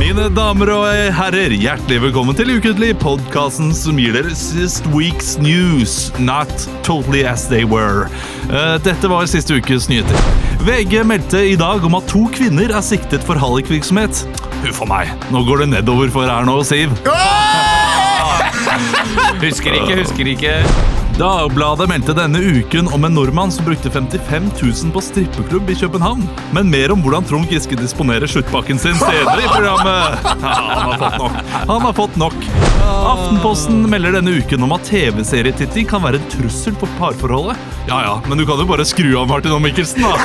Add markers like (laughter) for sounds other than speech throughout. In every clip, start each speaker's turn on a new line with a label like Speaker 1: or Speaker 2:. Speaker 1: Mine damer og herrer, hjertelig velkommen til Ukentlig, podkasten som gir dere sist week's news, not totally as they were. Eh, Dette var siste ukes nyheter. VG meldte i dag om at to kvinner er siktet for hallikvirksomhet. Huff a meg, nå går det nedover for Erna og Siv. Husker ikke, husker ikke. Dagbladet meldte denne uken om en nordmann som brukte 55 000 på strippeklubb i København. Men mer om hvordan Trond Giske disponerer sluttpakken sin senere i (laughs) programmet. Ja, han har fått nok. Han har fått nok. Aftenposten melder denne uken om at TV-serietitting kan være en trussel for parforholdet. Ja ja, men du kan jo bare skru av Martin og Mikkelsen, da.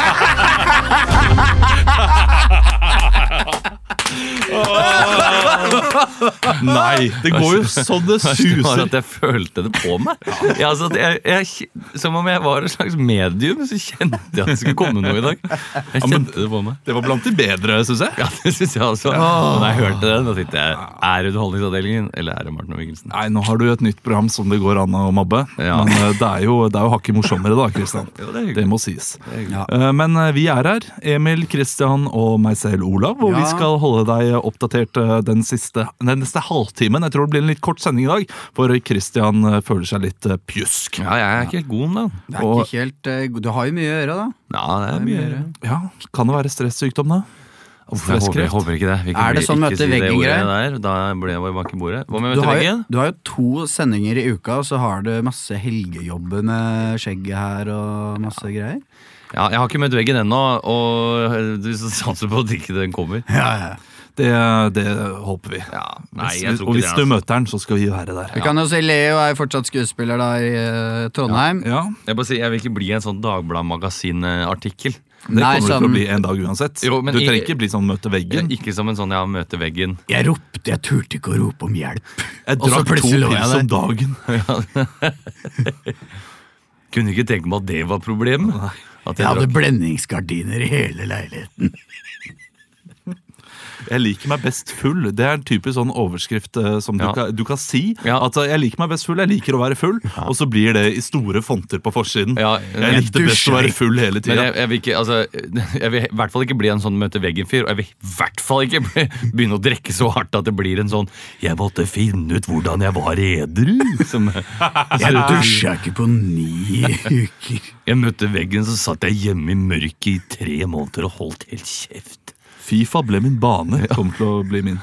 Speaker 1: (laughs) Nei, det går jo så det
Speaker 2: Det var
Speaker 1: suser.
Speaker 2: at jeg følte det på meg. Ja, altså, at jeg, jeg, som om jeg var et slags medium, så kjente jeg at det skulle komme noe i dag. Jeg
Speaker 1: men-
Speaker 2: kjente det på meg.
Speaker 1: Det var blant de bedre, syns jeg.
Speaker 2: Ja, det synes jeg også. Og da jeg hørte det, da tenkte jeg er det Underholdningsavdelingen eller er det Martin og Mikkelsen?
Speaker 1: Nei, nå har du et nytt program som det går an å mobbe.
Speaker 2: Ja.
Speaker 1: Men eh, det er jo, det er jo hakket morsommere, da, Kristian.
Speaker 2: Jo, det er hyggelig.
Speaker 1: må sies. Eh, Men eh, vi er her, Emil, Kristian og meg selv, Olav. Og vi skal holde deg oppdatert eh, den, siste, den neste halvtimen. Jeg tror det blir en litt kort sending i dag, for Kristian føler seg litt eh, pjusk.
Speaker 2: Ja, jeg er ikke helt god om den.
Speaker 3: Det er
Speaker 1: Og-
Speaker 3: ikke helt eh, god- Du har jo mye å gjøre, da.
Speaker 2: Ja, det er mye.
Speaker 1: Ja, Kan det være stressykdom, da?
Speaker 2: Uff, Jeg håper, jeg håper ikke det. Vi kan
Speaker 3: Er det
Speaker 2: bli-
Speaker 3: sånn
Speaker 2: ikke
Speaker 3: møte
Speaker 2: si det
Speaker 3: veggen-greier?
Speaker 2: ordet der, Da blir jeg bare bak i bordet. Hva med
Speaker 3: Du
Speaker 2: møte
Speaker 3: har, jo,
Speaker 2: veggen?
Speaker 3: du har jo to sendinger i uka, og så har du masse helgejobber med skjegget her og masse greier.
Speaker 2: Ja, jeg har ikke møtt veggen ennå, og eh, du satser på at ikke den kommer.
Speaker 1: Det, det håper vi.
Speaker 2: Ja, nei,
Speaker 1: Hvis-
Speaker 2: jeg tror
Speaker 1: og
Speaker 2: ikke
Speaker 1: hvis
Speaker 2: det.
Speaker 1: du
Speaker 2: altså.
Speaker 1: møter den, så skal vi være der.
Speaker 3: Vi kan jo si Leo er fortsatt skuespiller da i eh, Trondheim.
Speaker 1: Ja,
Speaker 2: Jeg, bare sier, jeg vil ikke bli en sånn Dagblad-magasin-artikkel.
Speaker 1: Det kommer det
Speaker 3: Nei,
Speaker 1: til
Speaker 3: sånn-
Speaker 1: å bli en dag uansett.
Speaker 2: Jo, men
Speaker 1: du
Speaker 2: i-
Speaker 1: trenger ikke bli sånn møte veggen.
Speaker 2: Ikke som en sånn ja, møte veggen.
Speaker 3: Jeg ropte, jeg turte ikke å rope om hjelp.
Speaker 1: Jeg
Speaker 3: Og så
Speaker 1: drakk to
Speaker 3: plutselig lå jeg
Speaker 1: pils
Speaker 3: sånn- der.
Speaker 1: om dagen. (laughs)
Speaker 2: Kunne ikke tenke meg at det var problemet. At jeg
Speaker 3: Jeg hadde
Speaker 2: drakk-
Speaker 3: blendingsgardiner i hele leiligheten.
Speaker 1: Jeg liker meg best full. Det er en typisk sånn overskrift eh, som du,
Speaker 2: Ja.
Speaker 1: kan, du kan si.
Speaker 2: Ja.
Speaker 1: At eh, jeg liker meg best full, jeg liker å være full. Og så blir det i store fonter på forsiden.
Speaker 2: Ja,
Speaker 1: jeg likte best å være full hele
Speaker 2: men
Speaker 1: tida.
Speaker 2: jeg, jeg, vil ikke, altså, (laughs) jeg vil i hvert fall ikke bli en sånn møte veggen-fyr. Og jeg vil i hvert fall ikke bli, (laughs) begynne å drikke så hardt at det blir en sånn 'jeg måtte finne ut hvordan jeg var edru'. (laughs) Som,
Speaker 1: (laughs)
Speaker 3: Jeg dusja ikke på ni (laughs) uker.
Speaker 2: jeg møtte veggen, så satt jeg hjemme i mørket i tre måneder og holdt helt kjeft.
Speaker 1: Fifa ble min bane. Kommer til å bli min.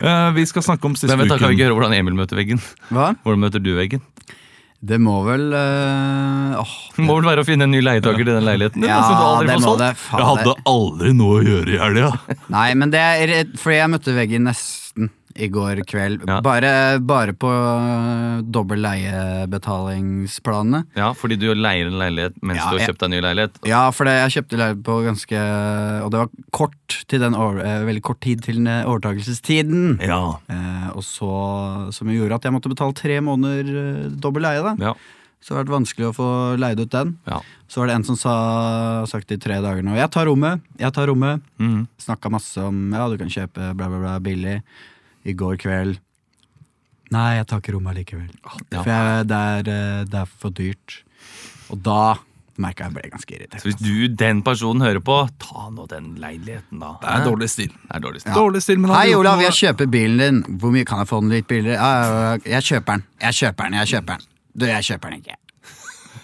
Speaker 1: Eh, vi skal snakke om siste
Speaker 2: Men vent, da kan vi
Speaker 1: uken.
Speaker 2: ikke høre hvordan Emil møter veggen.
Speaker 3: Hva?
Speaker 2: Hvordan møter du veggen? (laughs)
Speaker 3: Det må vel eh, åh,
Speaker 2: Det må vel være å finne en ny leietaker til den leiligheten din?
Speaker 3: Ja,
Speaker 2: da, som du aldri
Speaker 3: det
Speaker 2: får
Speaker 3: må
Speaker 2: solgt.
Speaker 3: det.
Speaker 1: Jeg
Speaker 3: Faen,
Speaker 1: hadde
Speaker 3: det.
Speaker 1: aldri noe å gjøre i helga.
Speaker 3: Nei, men det er rett- fordi jeg møtte veggen nesten i går kveld.
Speaker 2: Ja.
Speaker 3: Bare, bare på øh, dobbel leiebetalingsplanene.
Speaker 2: Ja, fordi du leier en leilighet mens
Speaker 3: Ja,
Speaker 2: du har
Speaker 3: jeg-
Speaker 2: kjøpt deg en ny leilighet.
Speaker 3: Ja, for det, jeg kjøpte leilighet på ganske Og det var kort til den over, eh, veldig kort tid til den eh, overtakelsestiden.
Speaker 2: Ja.
Speaker 3: Eh, og så, som gjorde at jeg måtte betale tre måneder eh, dobbel leie. da
Speaker 2: Ja.
Speaker 3: Så det har vært vanskelig å få leid ut den.
Speaker 2: Ja.
Speaker 3: Så var det en som sa sagt i tre dager nå 'jeg tar rommet', 'jeg tar rommet'.
Speaker 2: Mhm.
Speaker 3: Snakka masse om 'ja, du kan kjøpe bla, bla, bla billig'. I går kveld Nei, jeg tar ikke rommet likevel.
Speaker 2: ja.
Speaker 3: For jeg, Ah, det, er, eh, det er for dyrt. Og da merka jeg ble ganske irritert. altså.
Speaker 2: Så hvis du, den personen, hører på, ta nå den leiligheten, da.
Speaker 1: Det er dårlig stil.
Speaker 2: Det er dårlig stil.
Speaker 1: Dårlig stil, men hadde
Speaker 3: Hei,
Speaker 1: gjort
Speaker 3: Olav,
Speaker 1: noe-
Speaker 3: jeg kjøper bilen din. Hvor mye kan jeg få den litt billigere? Ja, ja, ja, Jeg kjøper den. Jeg kjøper den, jeg kjøper den. Du, jeg kjøper den ikke.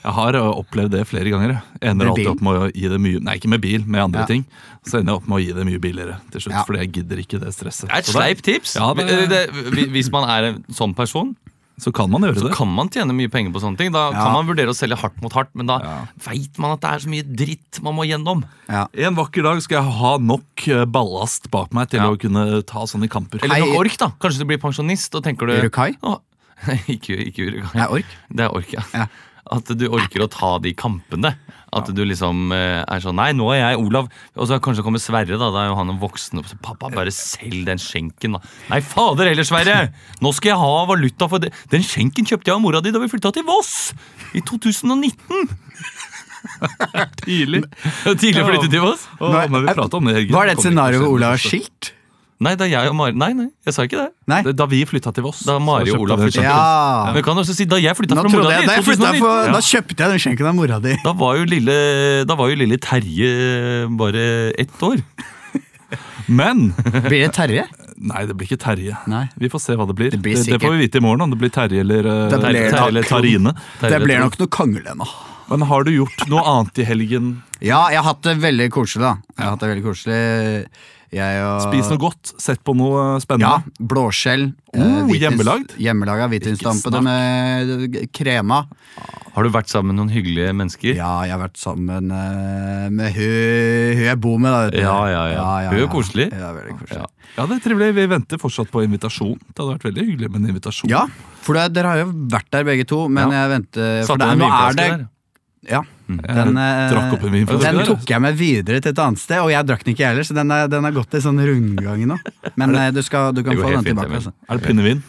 Speaker 1: Jeg har ø, opplevd det flere ganger. Jeg ender
Speaker 3: Med
Speaker 1: alltid
Speaker 3: bil?
Speaker 1: opp med å gi det mye Nei, ikke med bil, med andre
Speaker 3: Ja.
Speaker 1: ting. Så ender jeg opp med å gi det mye billigere til slutt,
Speaker 3: Ja.
Speaker 1: fordi jeg gidder ikke det stresset.
Speaker 2: Det er et
Speaker 1: Så da-
Speaker 2: sleipt tips.
Speaker 1: Ja, det-
Speaker 2: Eh, det- hvi- hvis man er en sånn person,
Speaker 1: så kan man gjøre det.
Speaker 2: Kan man tjene mye penger på sånne ting? Da kan man vurdere å selge hardt mot hardt, men da
Speaker 1: Ja.
Speaker 2: vet veit man at det er så mye dritt man må gjennom.
Speaker 3: Ja.
Speaker 1: En vakker dag skal jeg ha nok eh, ballast bak meg til
Speaker 2: Ja.
Speaker 1: å kunne ta sånne kamper.
Speaker 2: Eller
Speaker 3: Hei.
Speaker 2: nok ork, da. Kanskje du blir pensjonist, og tenker du
Speaker 3: Urukai?
Speaker 2: (laughs) Å, ikke, ikke Urukai.
Speaker 3: Nei, ork.
Speaker 2: Det er ork, ja.
Speaker 3: Ja.
Speaker 2: At du orker å ta de kampene. At du liksom eh, er sånn Nei, nå er jeg Olav. Og så kanskje kommer Sverre, da. Da er jo han en voksen. Og så, Pappa, bare selg den skjenken, da. Nei, fader heller, Sverre! Nå skal jeg ha valuta for det. Den skjenken kjøpte jeg av mora di da vi flytta til Voss! I 2019!
Speaker 1: (laughs) Tidlig.
Speaker 2: Tidlig å flytte til Voss.
Speaker 1: Å,
Speaker 3: Nei,
Speaker 1: men vi pratet om det, Helge.
Speaker 3: Var det et
Speaker 1: Kommer
Speaker 3: scenario
Speaker 1: ikke
Speaker 3: hvor Olav
Speaker 1: til å
Speaker 3: har
Speaker 1: se
Speaker 3: skilt?
Speaker 2: Nei, da jeg og Mari Nei, nei, jeg sa ikke det.
Speaker 3: Nei?
Speaker 1: det. Da vi flytta til Voss.
Speaker 2: Da Mari
Speaker 1: så
Speaker 2: og
Speaker 1: kjøpte
Speaker 2: Olav
Speaker 1: den
Speaker 2: flytta til
Speaker 1: skjenken.
Speaker 3: Ja.
Speaker 2: Men jeg kan også si da jeg flytta
Speaker 3: Nå
Speaker 2: fra
Speaker 3: trodde
Speaker 2: mora
Speaker 3: jeg,
Speaker 2: di
Speaker 3: da,
Speaker 2: i
Speaker 3: jeg flyttet
Speaker 2: 2019.
Speaker 3: for,
Speaker 2: Ja.
Speaker 3: da kjøpte jeg den skjenken av mora di.
Speaker 2: Da var jo lille, da var jo lille Terje bare ett år.
Speaker 1: Men
Speaker 3: Blir det Terje?
Speaker 1: Nei, det blir ikke Terje.
Speaker 3: Nei.
Speaker 1: Vi får se hva det blir. Det,
Speaker 3: Det blir
Speaker 1: det,
Speaker 3: sikkert-
Speaker 1: får vi vite i morgen om det blir Terje eller, eh,
Speaker 3: Det blir
Speaker 1: Terje
Speaker 3: nok-
Speaker 1: eller Tarine.
Speaker 3: Det
Speaker 2: Terje
Speaker 3: blir
Speaker 2: Rødtvold.
Speaker 3: nok noe krangle nå.
Speaker 1: Men har du gjort noe annet i helgen?
Speaker 3: Ja, jeg har hatt det veldig koselig, da. Jeg har hatt det veldig koselig. Jeg og
Speaker 1: Spis noe godt, sett på noe eh,
Speaker 3: Ja,
Speaker 1: spennende.
Speaker 3: blåskjell. eh,
Speaker 1: Oh, hjemmelagd?
Speaker 3: Hjemmelaga hvitvinsdampede med eh, krema.
Speaker 2: Har du vært sammen med noen hyggelige mennesker?
Speaker 3: Ja, jeg har vært sammen eh, med hun hun jeg bor med. Da, vet du.
Speaker 2: Ja, ja, ja. Hun er jo koselig.
Speaker 3: Ja, veldig koselig.
Speaker 2: Ja.
Speaker 3: Ja.
Speaker 1: Ja, det er trivelig. Vi venter fortsatt på invitasjon. Det hadde vært veldig hyggelig med en invitasjon.
Speaker 3: for det, dere har jo vært der begge to, men jeg venter
Speaker 2: Satt
Speaker 3: for det,
Speaker 2: du en
Speaker 3: nå er
Speaker 2: vinflaske
Speaker 3: det
Speaker 2: der?
Speaker 3: Ja.
Speaker 2: Mm.
Speaker 1: Jeg
Speaker 3: Den, eh,
Speaker 1: drakk opp en vinflaske
Speaker 3: den
Speaker 1: der,
Speaker 3: tok jeg med videre til et annet sted, og jeg drakk den ikke heller, så den, er, den har gått i sånn rundgang nå. Men eh, du, skal, du kan
Speaker 2: Det går
Speaker 3: få
Speaker 2: helt fint,
Speaker 3: den tilbake.
Speaker 2: Emil.
Speaker 3: Altså.
Speaker 1: Er det pinnevin?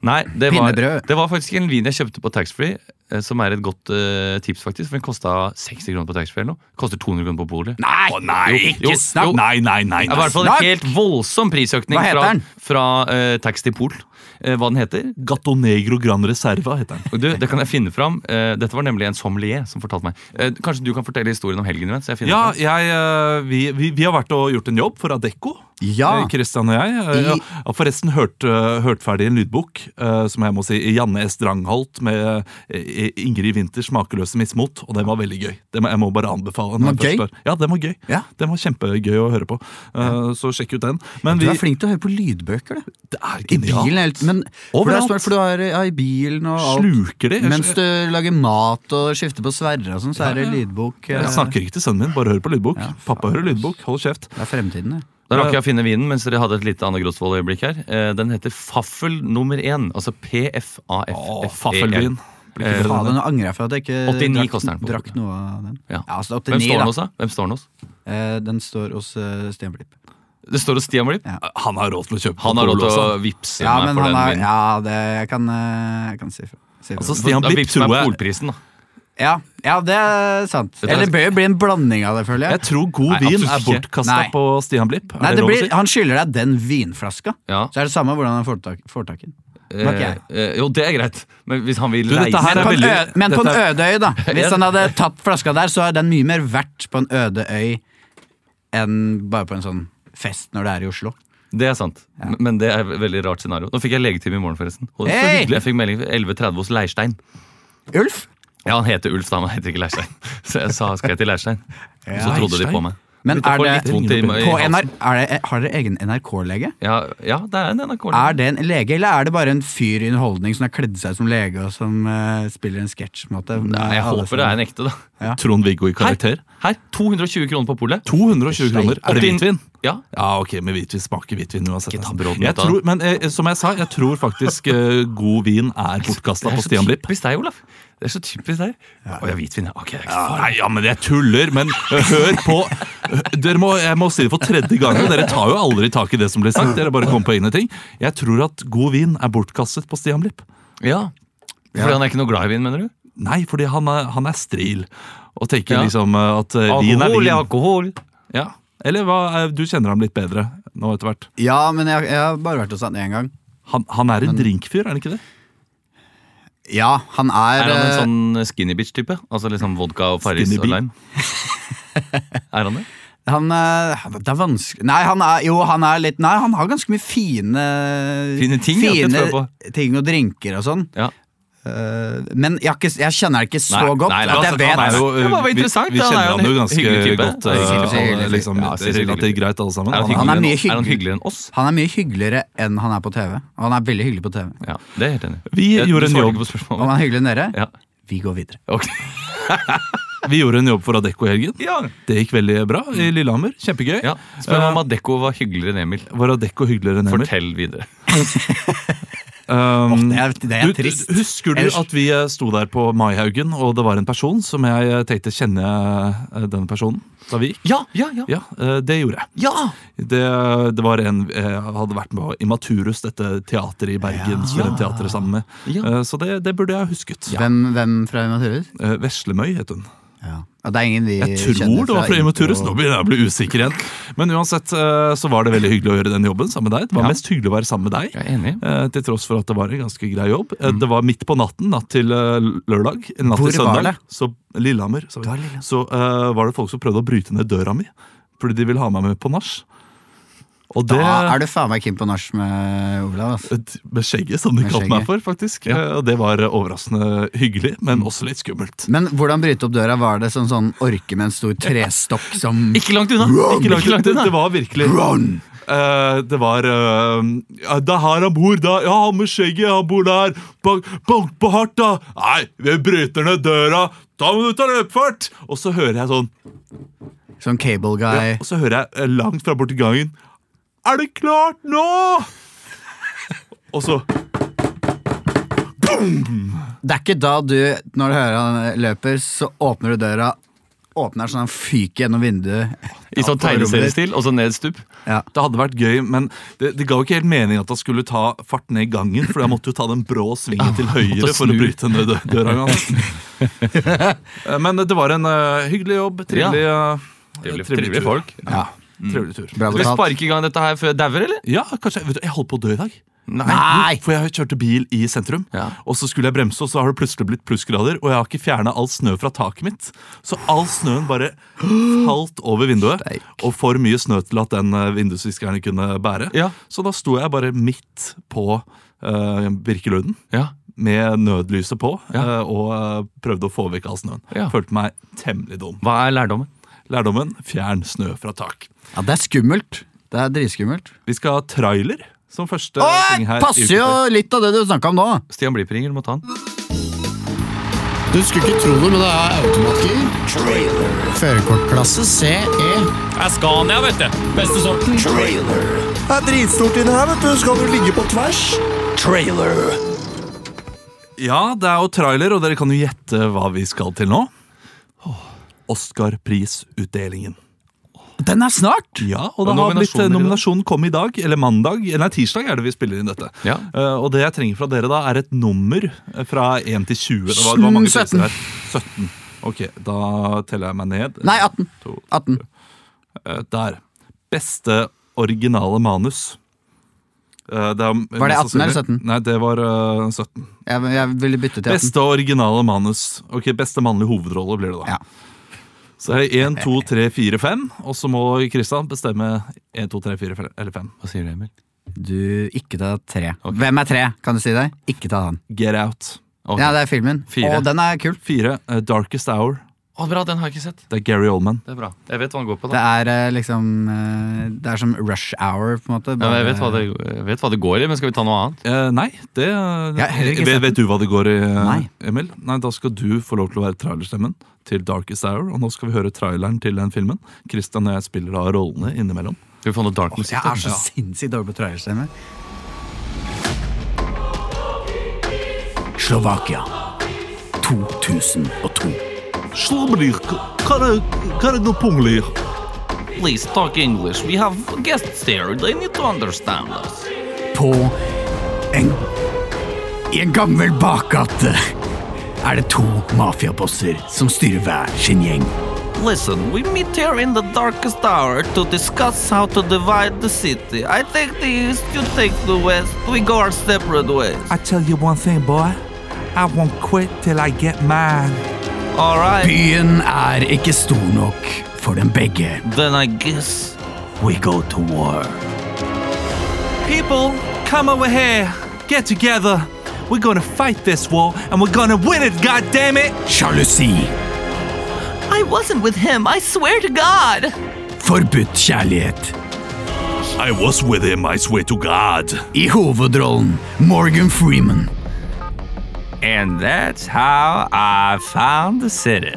Speaker 2: Nei, det var,
Speaker 3: Pinnebrød.
Speaker 2: det var faktisk en vin jeg kjøpte på taxfree, eh, som er et godt eh, tips, faktisk. For den kosta 60 kroner på taxfree eller noe. Koster 200 kroner på polet.
Speaker 3: Nei,
Speaker 2: jo, jo.
Speaker 1: Nei, nei, nei.
Speaker 2: Det var i hvert fall
Speaker 3: Snakk!
Speaker 2: en helt voldsom prisøkning
Speaker 3: Hva heter
Speaker 2: fra,
Speaker 3: den?
Speaker 2: fra eh, tax til pol. Eh, hva den heter?
Speaker 1: Gatto Negro Gran Reserva heter den.
Speaker 2: Og Du, det kan jeg finne fram. Eh, dette var nemlig en sommelier som fortalte meg. Eh, kanskje du kan fortelle historien om helgen? Mens jeg finner
Speaker 1: Ja,
Speaker 2: fram?
Speaker 1: jeg, eh, vi, vi, vi har vært og gjort en jobb for Adecco.
Speaker 3: Ja.
Speaker 1: Eh, Christian og jeg. eh,
Speaker 3: I-
Speaker 1: ja, har forresten hørt, eh, hørt ferdig en lydbok eh, som jeg må si Janne S. Drangholt med eh, Ingrid Winters 'Makeløse mismot', og den var veldig gøy. Den må, jeg må bare anbefale. når
Speaker 3: Den var
Speaker 1: jeg først
Speaker 3: gøy?
Speaker 1: er- Ja, den var gøy.
Speaker 3: Ja.
Speaker 1: Den var kjempegøy å høre på. Eh, Så sjekk ut den. Men
Speaker 3: Du
Speaker 1: vi,
Speaker 3: er flink til å høre på lydbøker, du.
Speaker 1: det er
Speaker 3: I bilen
Speaker 1: genialt.
Speaker 3: helt Men for, det
Speaker 1: Overalt.
Speaker 3: er smart, for du har ja, i bilen og alt.
Speaker 1: Sluker det. Jeg-
Speaker 3: Mens du lager mat og skifter på Sverre og sånn, så er det
Speaker 1: Ja, ja.
Speaker 3: lydbok. eh,
Speaker 1: Jeg snakker ikke til sønnen min, bare hør på lydbok.
Speaker 3: Ja,
Speaker 1: Pappa
Speaker 3: faen.
Speaker 1: hører lydbok, hold kjeft.
Speaker 3: Det er fremtiden, det.
Speaker 2: Da rakk jeg å finne vinen mens dere hadde et lite Anne Grosvold-øyeblikk her. Eh, Den heter Faffel nummer 1. Altså
Speaker 1: Å,
Speaker 2: PFAFFEL.
Speaker 1: Faffelbyen.
Speaker 2: Eh,
Speaker 3: Faen, nå angrer jeg for at jeg ikke
Speaker 2: 89
Speaker 3: drakk,
Speaker 2: koster den på
Speaker 3: drakk noe av den.
Speaker 2: Ja.
Speaker 3: altså
Speaker 2: Hvem
Speaker 3: 89,
Speaker 2: står den
Speaker 3: da.
Speaker 2: hos, da? Hvem står den hos?
Speaker 3: Eh, Den står hos eh, Stian Blipp.
Speaker 2: Det står hos Stian Blipp.
Speaker 3: Ja.
Speaker 1: Eh, Han har råd til å kjøpe
Speaker 2: Han har råd til å
Speaker 1: Popolo også.
Speaker 2: vippse
Speaker 3: Ja,
Speaker 2: meg
Speaker 3: men
Speaker 2: for
Speaker 3: han
Speaker 2: den
Speaker 3: er
Speaker 2: vinen.
Speaker 3: Ja, det jeg kan, eh, jeg kan si fra. Si fra.
Speaker 1: Altså,
Speaker 2: Så
Speaker 1: Stian
Speaker 2: da
Speaker 1: Blipp
Speaker 2: vipser
Speaker 1: tror
Speaker 2: meg
Speaker 1: jeg
Speaker 2: polprisen, da.
Speaker 3: ja, ja, det er sant.
Speaker 2: du hva
Speaker 3: Eller
Speaker 2: jeg-
Speaker 3: det bør jo bli en blanding av det, føler
Speaker 1: Jeg
Speaker 3: jeg.
Speaker 1: tror god
Speaker 2: Nei,
Speaker 1: vin er
Speaker 2: absolutt ikke.
Speaker 1: bortkasta
Speaker 3: Nei.
Speaker 1: på Stian Blipp. Er
Speaker 3: Nei, det
Speaker 1: lov å
Speaker 3: blir,
Speaker 1: si?
Speaker 3: Han skylder deg den vinflaska.
Speaker 2: Ja.
Speaker 3: Så er det samme hvordan han får tak, får tak i den. Det var ikke jeg.
Speaker 2: Eh, eh, jo, det er greit. Men hvis han vil
Speaker 1: Du, dette
Speaker 2: leie
Speaker 1: her er
Speaker 3: Men på, en ø,
Speaker 1: veldig-
Speaker 3: men på en
Speaker 1: dette
Speaker 3: øde øy,
Speaker 2: (laughs)
Speaker 3: da. Hvis han hadde tatt flaska der, så er den mye mer verdt på en øde øy enn bare på en sånn fest når det er i Oslo.
Speaker 2: Det er sant. M- Men det er et veldig rart scenario. Nå fikk jeg legetime i morgen, forresten. Og det er så
Speaker 3: Hey!
Speaker 2: hyggelig. Jeg fikk melding 11.30 hos Leirstein.
Speaker 3: Ulf?
Speaker 2: Ja, han heter Ulf, da. men Han heter ikke Leirstein. (laughs) Så jeg sa skal jeg til Leirstein. Og så trodde de
Speaker 1: Leirstein?
Speaker 2: på meg.
Speaker 3: Men
Speaker 2: Jeg
Speaker 3: er
Speaker 2: får
Speaker 3: det,
Speaker 2: litt vondt i- i
Speaker 3: på
Speaker 2: halsen.
Speaker 3: NR, er det Har dere egen NRK-lege?
Speaker 2: Ja, ja, det er en NRK.
Speaker 3: Er det en lege, eller er det bare en fyr i underholdning som har kledd seg som lege og som eh, spiller en sketsj? på en måte?
Speaker 2: Nei, jeg håper det
Speaker 3: sånn.
Speaker 2: er en ekte, da.
Speaker 1: Trond-Viggo i karakter.
Speaker 2: Her, her 220 kroner på polet.
Speaker 1: 220 kroner. Er det
Speaker 2: Oppi-
Speaker 1: hvitvin?
Speaker 2: Ja.
Speaker 1: Ja, ok, men hvitvin smaker hvitvin uansett.
Speaker 2: Ikke ta
Speaker 1: altså.
Speaker 2: brodden
Speaker 1: jeg
Speaker 2: ut av
Speaker 1: tror, men eh, som jeg sa, jeg tror faktisk eh, god vin er bortkasta på Stian Blipp.
Speaker 2: typisk deg, Olaf. Det er så typisk deg. Å, jeg er hvitvin, ja. Ok, det er ikke så farlig.
Speaker 1: Nei, ja, men jeg tuller, men eh, hør på dere må, Jeg må si det for tredje gang, dere tar jo aldri tak i det som blir sagt. Dere bare kommer på egne ting. Jeg tror at god vin er bortkastet på Stian Blipp.
Speaker 2: Ja. Fordi han er ikke noe glad i vin, mener du?
Speaker 1: Nei, fordi han er, han er stril og tenker
Speaker 2: Ja.
Speaker 1: liksom eh, at eh, vin er
Speaker 2: Alkohol, ja,
Speaker 1: vin.
Speaker 2: alkohol.
Speaker 1: Ja. Eller hva, eh, du kjenner ham litt bedre nå etter hvert.
Speaker 3: Ja, men jeg, jeg har bare vært hos han én gang.
Speaker 1: Han, han er en drinkfyr, er han ikke det?
Speaker 3: Ja, han er,
Speaker 2: Er han
Speaker 3: eh,
Speaker 2: en sånn skinny bitch-type? Altså liksom vodka og Farris
Speaker 1: Skinny
Speaker 2: og
Speaker 1: bee.
Speaker 2: lime? er han det?
Speaker 3: han, eh, Det er vanskelig Nei, han er jo han er litt Nei, han har ganske mye fine
Speaker 2: Fine ting, ja, det tror jeg
Speaker 3: fine ting og drinker og sånn.
Speaker 2: Ja.
Speaker 3: Eh, Eh, men jeg, har ikke, jeg kjenner det ikke så
Speaker 2: Nei,
Speaker 3: godt
Speaker 2: nei, nei,
Speaker 3: at jeg
Speaker 2: altså, han er
Speaker 3: vet.
Speaker 2: jo- Det var
Speaker 1: eh, vi, vi
Speaker 2: interessant, han
Speaker 1: kjenner
Speaker 2: er jo
Speaker 1: han
Speaker 2: en
Speaker 1: jo ganske
Speaker 2: hyggelig type.
Speaker 1: godt.
Speaker 2: Ja,
Speaker 1: eh,
Speaker 3: sikkert
Speaker 1: alle,
Speaker 3: hyggelig.
Speaker 1: liksom,
Speaker 2: Ja, sikkert hyggelig.
Speaker 1: relativt greit alle sammen.
Speaker 2: Er
Speaker 1: Han-
Speaker 2: han,
Speaker 3: hyggelig?
Speaker 2: hyggeligere
Speaker 3: er mye
Speaker 2: enn- er han
Speaker 3: hyggelig.
Speaker 2: hyggeligere enn oss?
Speaker 3: Han er mye hyggeligere enn han er på TV. Og han er veldig hyggelig på TV.
Speaker 2: Ja, det er jeg helt enig. i.
Speaker 1: Vi
Speaker 2: Jeg- du
Speaker 1: gjorde en
Speaker 2: svarte
Speaker 1: jobb.
Speaker 2: ikke på
Speaker 3: Om han
Speaker 2: spørsmålet.
Speaker 3: er hyggeligere enn dere,
Speaker 2: Ja.
Speaker 3: vi går videre.
Speaker 2: Ok.
Speaker 1: Vi gjorde en jobb for Adecco i helgen.
Speaker 2: ja.
Speaker 1: Det gikk veldig bra i Lillehammer. Kjempegøy.
Speaker 2: (laughs) ja. Spør meg om Adecco var hyggeligere enn Emil.
Speaker 1: Var Adecco hyggeligere enn Emil?
Speaker 2: Fortell videre.
Speaker 1: Um,
Speaker 2: Mm.
Speaker 3: Det er, det er
Speaker 1: Du,
Speaker 3: trist.
Speaker 1: Husker du
Speaker 3: Ellers-
Speaker 1: at vi eh, sto der på Maihaugen, og det var en person som jeg eh, tenkte kjenner jeg eh, den personen da vi gikk?
Speaker 2: Ja, ja, ja.
Speaker 1: Ja, eh, det gjorde jeg.
Speaker 2: Ja!
Speaker 1: Det, det var en jeg hadde vært med på Imaturus, dette teateret i Bergen. Studentteatret sammen med.
Speaker 2: Ja.
Speaker 1: Eh, Så det, det burde jeg husket.
Speaker 3: Hvem, hvem fra Imaturus?
Speaker 1: Eh, Veslemøy het hun.
Speaker 3: Ja. Og det er ingen vi
Speaker 1: Jeg tror
Speaker 3: kjenner
Speaker 1: det var fra Imaturus. Nå
Speaker 3: Impro.
Speaker 1: begynner jeg å bli usikker igjen. Men uansett eh, så var det veldig hyggelig å gjøre den jobben sammen med deg. Det var
Speaker 2: Ja.
Speaker 1: mest hyggelig å være sammen med deg.
Speaker 2: Jeg er enig.
Speaker 1: Eh, til tross for at det var en ganske grei jobb. Eh, Det var midt på natten, natt til eh, lørdag. en Natt
Speaker 3: Mm. Hvor
Speaker 1: til
Speaker 3: var
Speaker 1: søndag.
Speaker 3: det?
Speaker 1: Så Lillehammer. Så,
Speaker 3: Det var Lillehammer.
Speaker 1: så eh, var det folk som prøvde å bryte ned døra mi fordi de ville ha meg med på nach. Og det
Speaker 3: Da er du faen meg keen på nach med Olav. altså. ass.
Speaker 1: et- med skjegget, som de
Speaker 3: Med
Speaker 1: kalte
Speaker 3: skjegget.
Speaker 1: meg for, faktisk. Eh, Og det var eh, overraskende hyggelig, men
Speaker 2: Mm.
Speaker 1: også litt skummelt.
Speaker 3: Men hvordan bryte opp døra? Var det sånn, sånn orke med en stor
Speaker 1: (laughs)
Speaker 3: trestokk som
Speaker 2: Ikke langt unna! Ikke langt,
Speaker 1: det,
Speaker 2: unna.
Speaker 1: det var virkelig
Speaker 3: Run!
Speaker 1: Eh, det var eh, ja, Det er her han bor, da. Ja, han med skjegget, han bor der. Bank, bank på hardt, da. Nei, vi bryter ned døra. Da må du ta løpefart! Og så hører jeg sånn.
Speaker 3: Sånn cable
Speaker 1: Ja,
Speaker 3: guy.
Speaker 1: og så hører jeg eh, langt fra borti gangen. Er det klart nå?! Og så
Speaker 3: Det er ikke da du, når du hører han eh, løper, så åpner du døra, åpner sånn han fyker gjennom vinduet.
Speaker 2: I sånn tegneseriestil, og så nedstup.
Speaker 3: Ja.
Speaker 1: Det hadde vært gøy, men det, det ga jo ikke helt mening at han skulle ta fart ned gangen, for jeg måtte jo ta den brå svingen til høyre
Speaker 2: måtte
Speaker 1: for å
Speaker 2: snu.
Speaker 1: bryte ned dø- døra hans. Eh, Men det var en eh, hyggelig jobb. Trivelig, eh, trivelig
Speaker 2: Trivelig- trivelige
Speaker 1: tur.
Speaker 2: folk.
Speaker 1: Ja, Trivelig tur.
Speaker 3: Bra
Speaker 2: Skal vi
Speaker 3: betalt.
Speaker 2: sparke i gang dette her før jeg dauer, eller?
Speaker 1: Ja, kanskje, vet du, Jeg holdt på å dø i dag.
Speaker 3: Nei!
Speaker 1: For jeg kjørte bil i sentrum,
Speaker 2: Ja.
Speaker 1: og så skulle jeg bremse, og så har det plutselig blitt plussgrader, og jeg har ikke fjerna all snø fra taket mitt. Så all snøen bare falt over vinduet,
Speaker 3: Steik.
Speaker 1: og for mye snø til at den eh, vindusviskeren kunne bære.
Speaker 2: Ja.
Speaker 1: Så da sto jeg bare midt på eh, Birkelunden.
Speaker 2: Ja.
Speaker 1: Med nødlyset på,
Speaker 2: Ja.
Speaker 1: eh, og eh, prøvde å få vekk all snøen.
Speaker 2: Ja.
Speaker 1: Følte meg temmelig dum.
Speaker 2: Hva er lærdommen?
Speaker 1: Lærdommen fjern snø fra tak.
Speaker 3: Ja, det er skummelt. Det er dritskummelt.
Speaker 1: Vi skal ha trailer som første
Speaker 3: Åh,
Speaker 1: ting her. i
Speaker 3: passer jo
Speaker 1: Ukeslutt.
Speaker 3: litt av det du snakka om nå.
Speaker 2: Stian Bliper ringer, du må ta han.
Speaker 4: Du skulle ikke tro det, men det er automatgir. Førerkortklasse E. CE.
Speaker 5: Det er dritstort inni her, vet du. Skal du ligge på tvers? Trailer.
Speaker 1: Ja, det er jo trailer, og dere kan jo gjette hva vi skal til nå. Oscar-prisutdelingen.
Speaker 3: Den er snart!
Speaker 1: Ja, og det
Speaker 2: Og
Speaker 1: har blitt eh,
Speaker 2: nominasjoner i dag.
Speaker 1: nominasjonen kom i dag, eller mandag, nei, tirsdag er det vi spiller inn dette.
Speaker 2: Ja.
Speaker 1: Eh, og det jeg trenger fra dere da, er et nummer eh, fra 1 til 20. Det var, det var mange priser her. 17. Ok, da teller jeg meg ned.
Speaker 3: Nei, 18.
Speaker 1: To,
Speaker 3: 18.
Speaker 1: eh, der. Beste originale manus. Eh, det er mest
Speaker 3: Var det 18 eller
Speaker 1: sannsynlig-
Speaker 3: 17?
Speaker 1: Nei, det var eh, 17.
Speaker 3: Jeg, jeg ville bytte til 18.
Speaker 1: Beste originale manus. Ok, Beste mannlige hovedrolle blir det, da.
Speaker 3: Ja.
Speaker 1: Så er det 1, 2, 3, 4, 5, og så må Kristian bestemme 1, 2, 3, 4 fem- eller 5.
Speaker 2: Hva sier du, Emil?
Speaker 3: Du, ikke ta tre. Hvem er tre, kan du si det? Ikke ta han.
Speaker 1: Get Out.
Speaker 2: Ok.
Speaker 3: Ja, det er filmen.
Speaker 2: Fire.
Speaker 3: Og den er kul.
Speaker 1: 4. eh, Darkest Hour.
Speaker 2: Å, bra, den har jeg ikke sett.
Speaker 1: Det er Gary Oldman.
Speaker 2: Det er bra. Jeg vet hva han går på,
Speaker 3: Det
Speaker 2: da.
Speaker 3: er eh, liksom eh, Det er som rush hour, på en måte.
Speaker 2: Ja, men jeg,
Speaker 3: bare-
Speaker 2: vet hva det, jeg vet hva det går i, men skal vi ta noe annet?
Speaker 1: Eh, nei, det
Speaker 3: Jeg har heller ikke
Speaker 1: vet,
Speaker 3: sett
Speaker 1: vet du hva det går i, eh,
Speaker 3: Nei.
Speaker 1: Emil? Nei, Da skal du få lov til å være trailerstemmen til Darkest Hour. Og nå skal vi høre traileren til den filmen. Kristian og jeg spiller da rollene innimellom.
Speaker 2: Skal vi få noe dark musikk?
Speaker 3: Jeg
Speaker 2: da?
Speaker 3: er så sinnssykt dårlig på trøyerstemme. Slovakia. 2002.
Speaker 2: Please talk English. We have guests here. They need to understand us.
Speaker 3: På en I en gammel bakgate er det to mafiabosser som styrer hver sin gjeng.
Speaker 2: Listen, we meet here in the darkest hour to discuss how to divide the city. I take the east, you take the west. We go our separate ways.
Speaker 1: I tell you one thing, boy. I won't quit till I get mine.
Speaker 2: All right.
Speaker 3: Byen er ikke stor nok for dem begge.
Speaker 2: Then I guess
Speaker 3: We go to war.
Speaker 1: People, come over here. Get together. We're gonna fight this war, and we're gonna win it, god damn it!
Speaker 3: Sjalusi.
Speaker 6: I wasn't with him, I swear to God!
Speaker 3: Forbudt kjærlighet.
Speaker 1: I was with him, I swear to god.
Speaker 3: I hovedrollen Morgan Freeman.
Speaker 2: And that's how I found the city.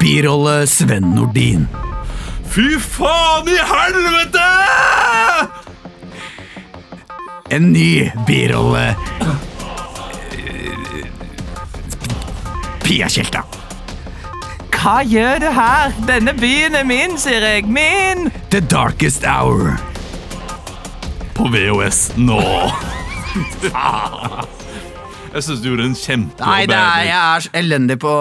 Speaker 3: Birolle Sven Nordin.
Speaker 1: Fy faen i helvete!
Speaker 3: En ny birolle eh, Pia Tjelta.
Speaker 6: Hva gjør du her? Denne byen er min, sier jeg. Min!
Speaker 3: The Darkest Hour.
Speaker 1: På VHS nå. Jeg syns du gjorde en kjempejobb.
Speaker 3: Nei,
Speaker 1: Erling.
Speaker 3: jeg er så elendig på,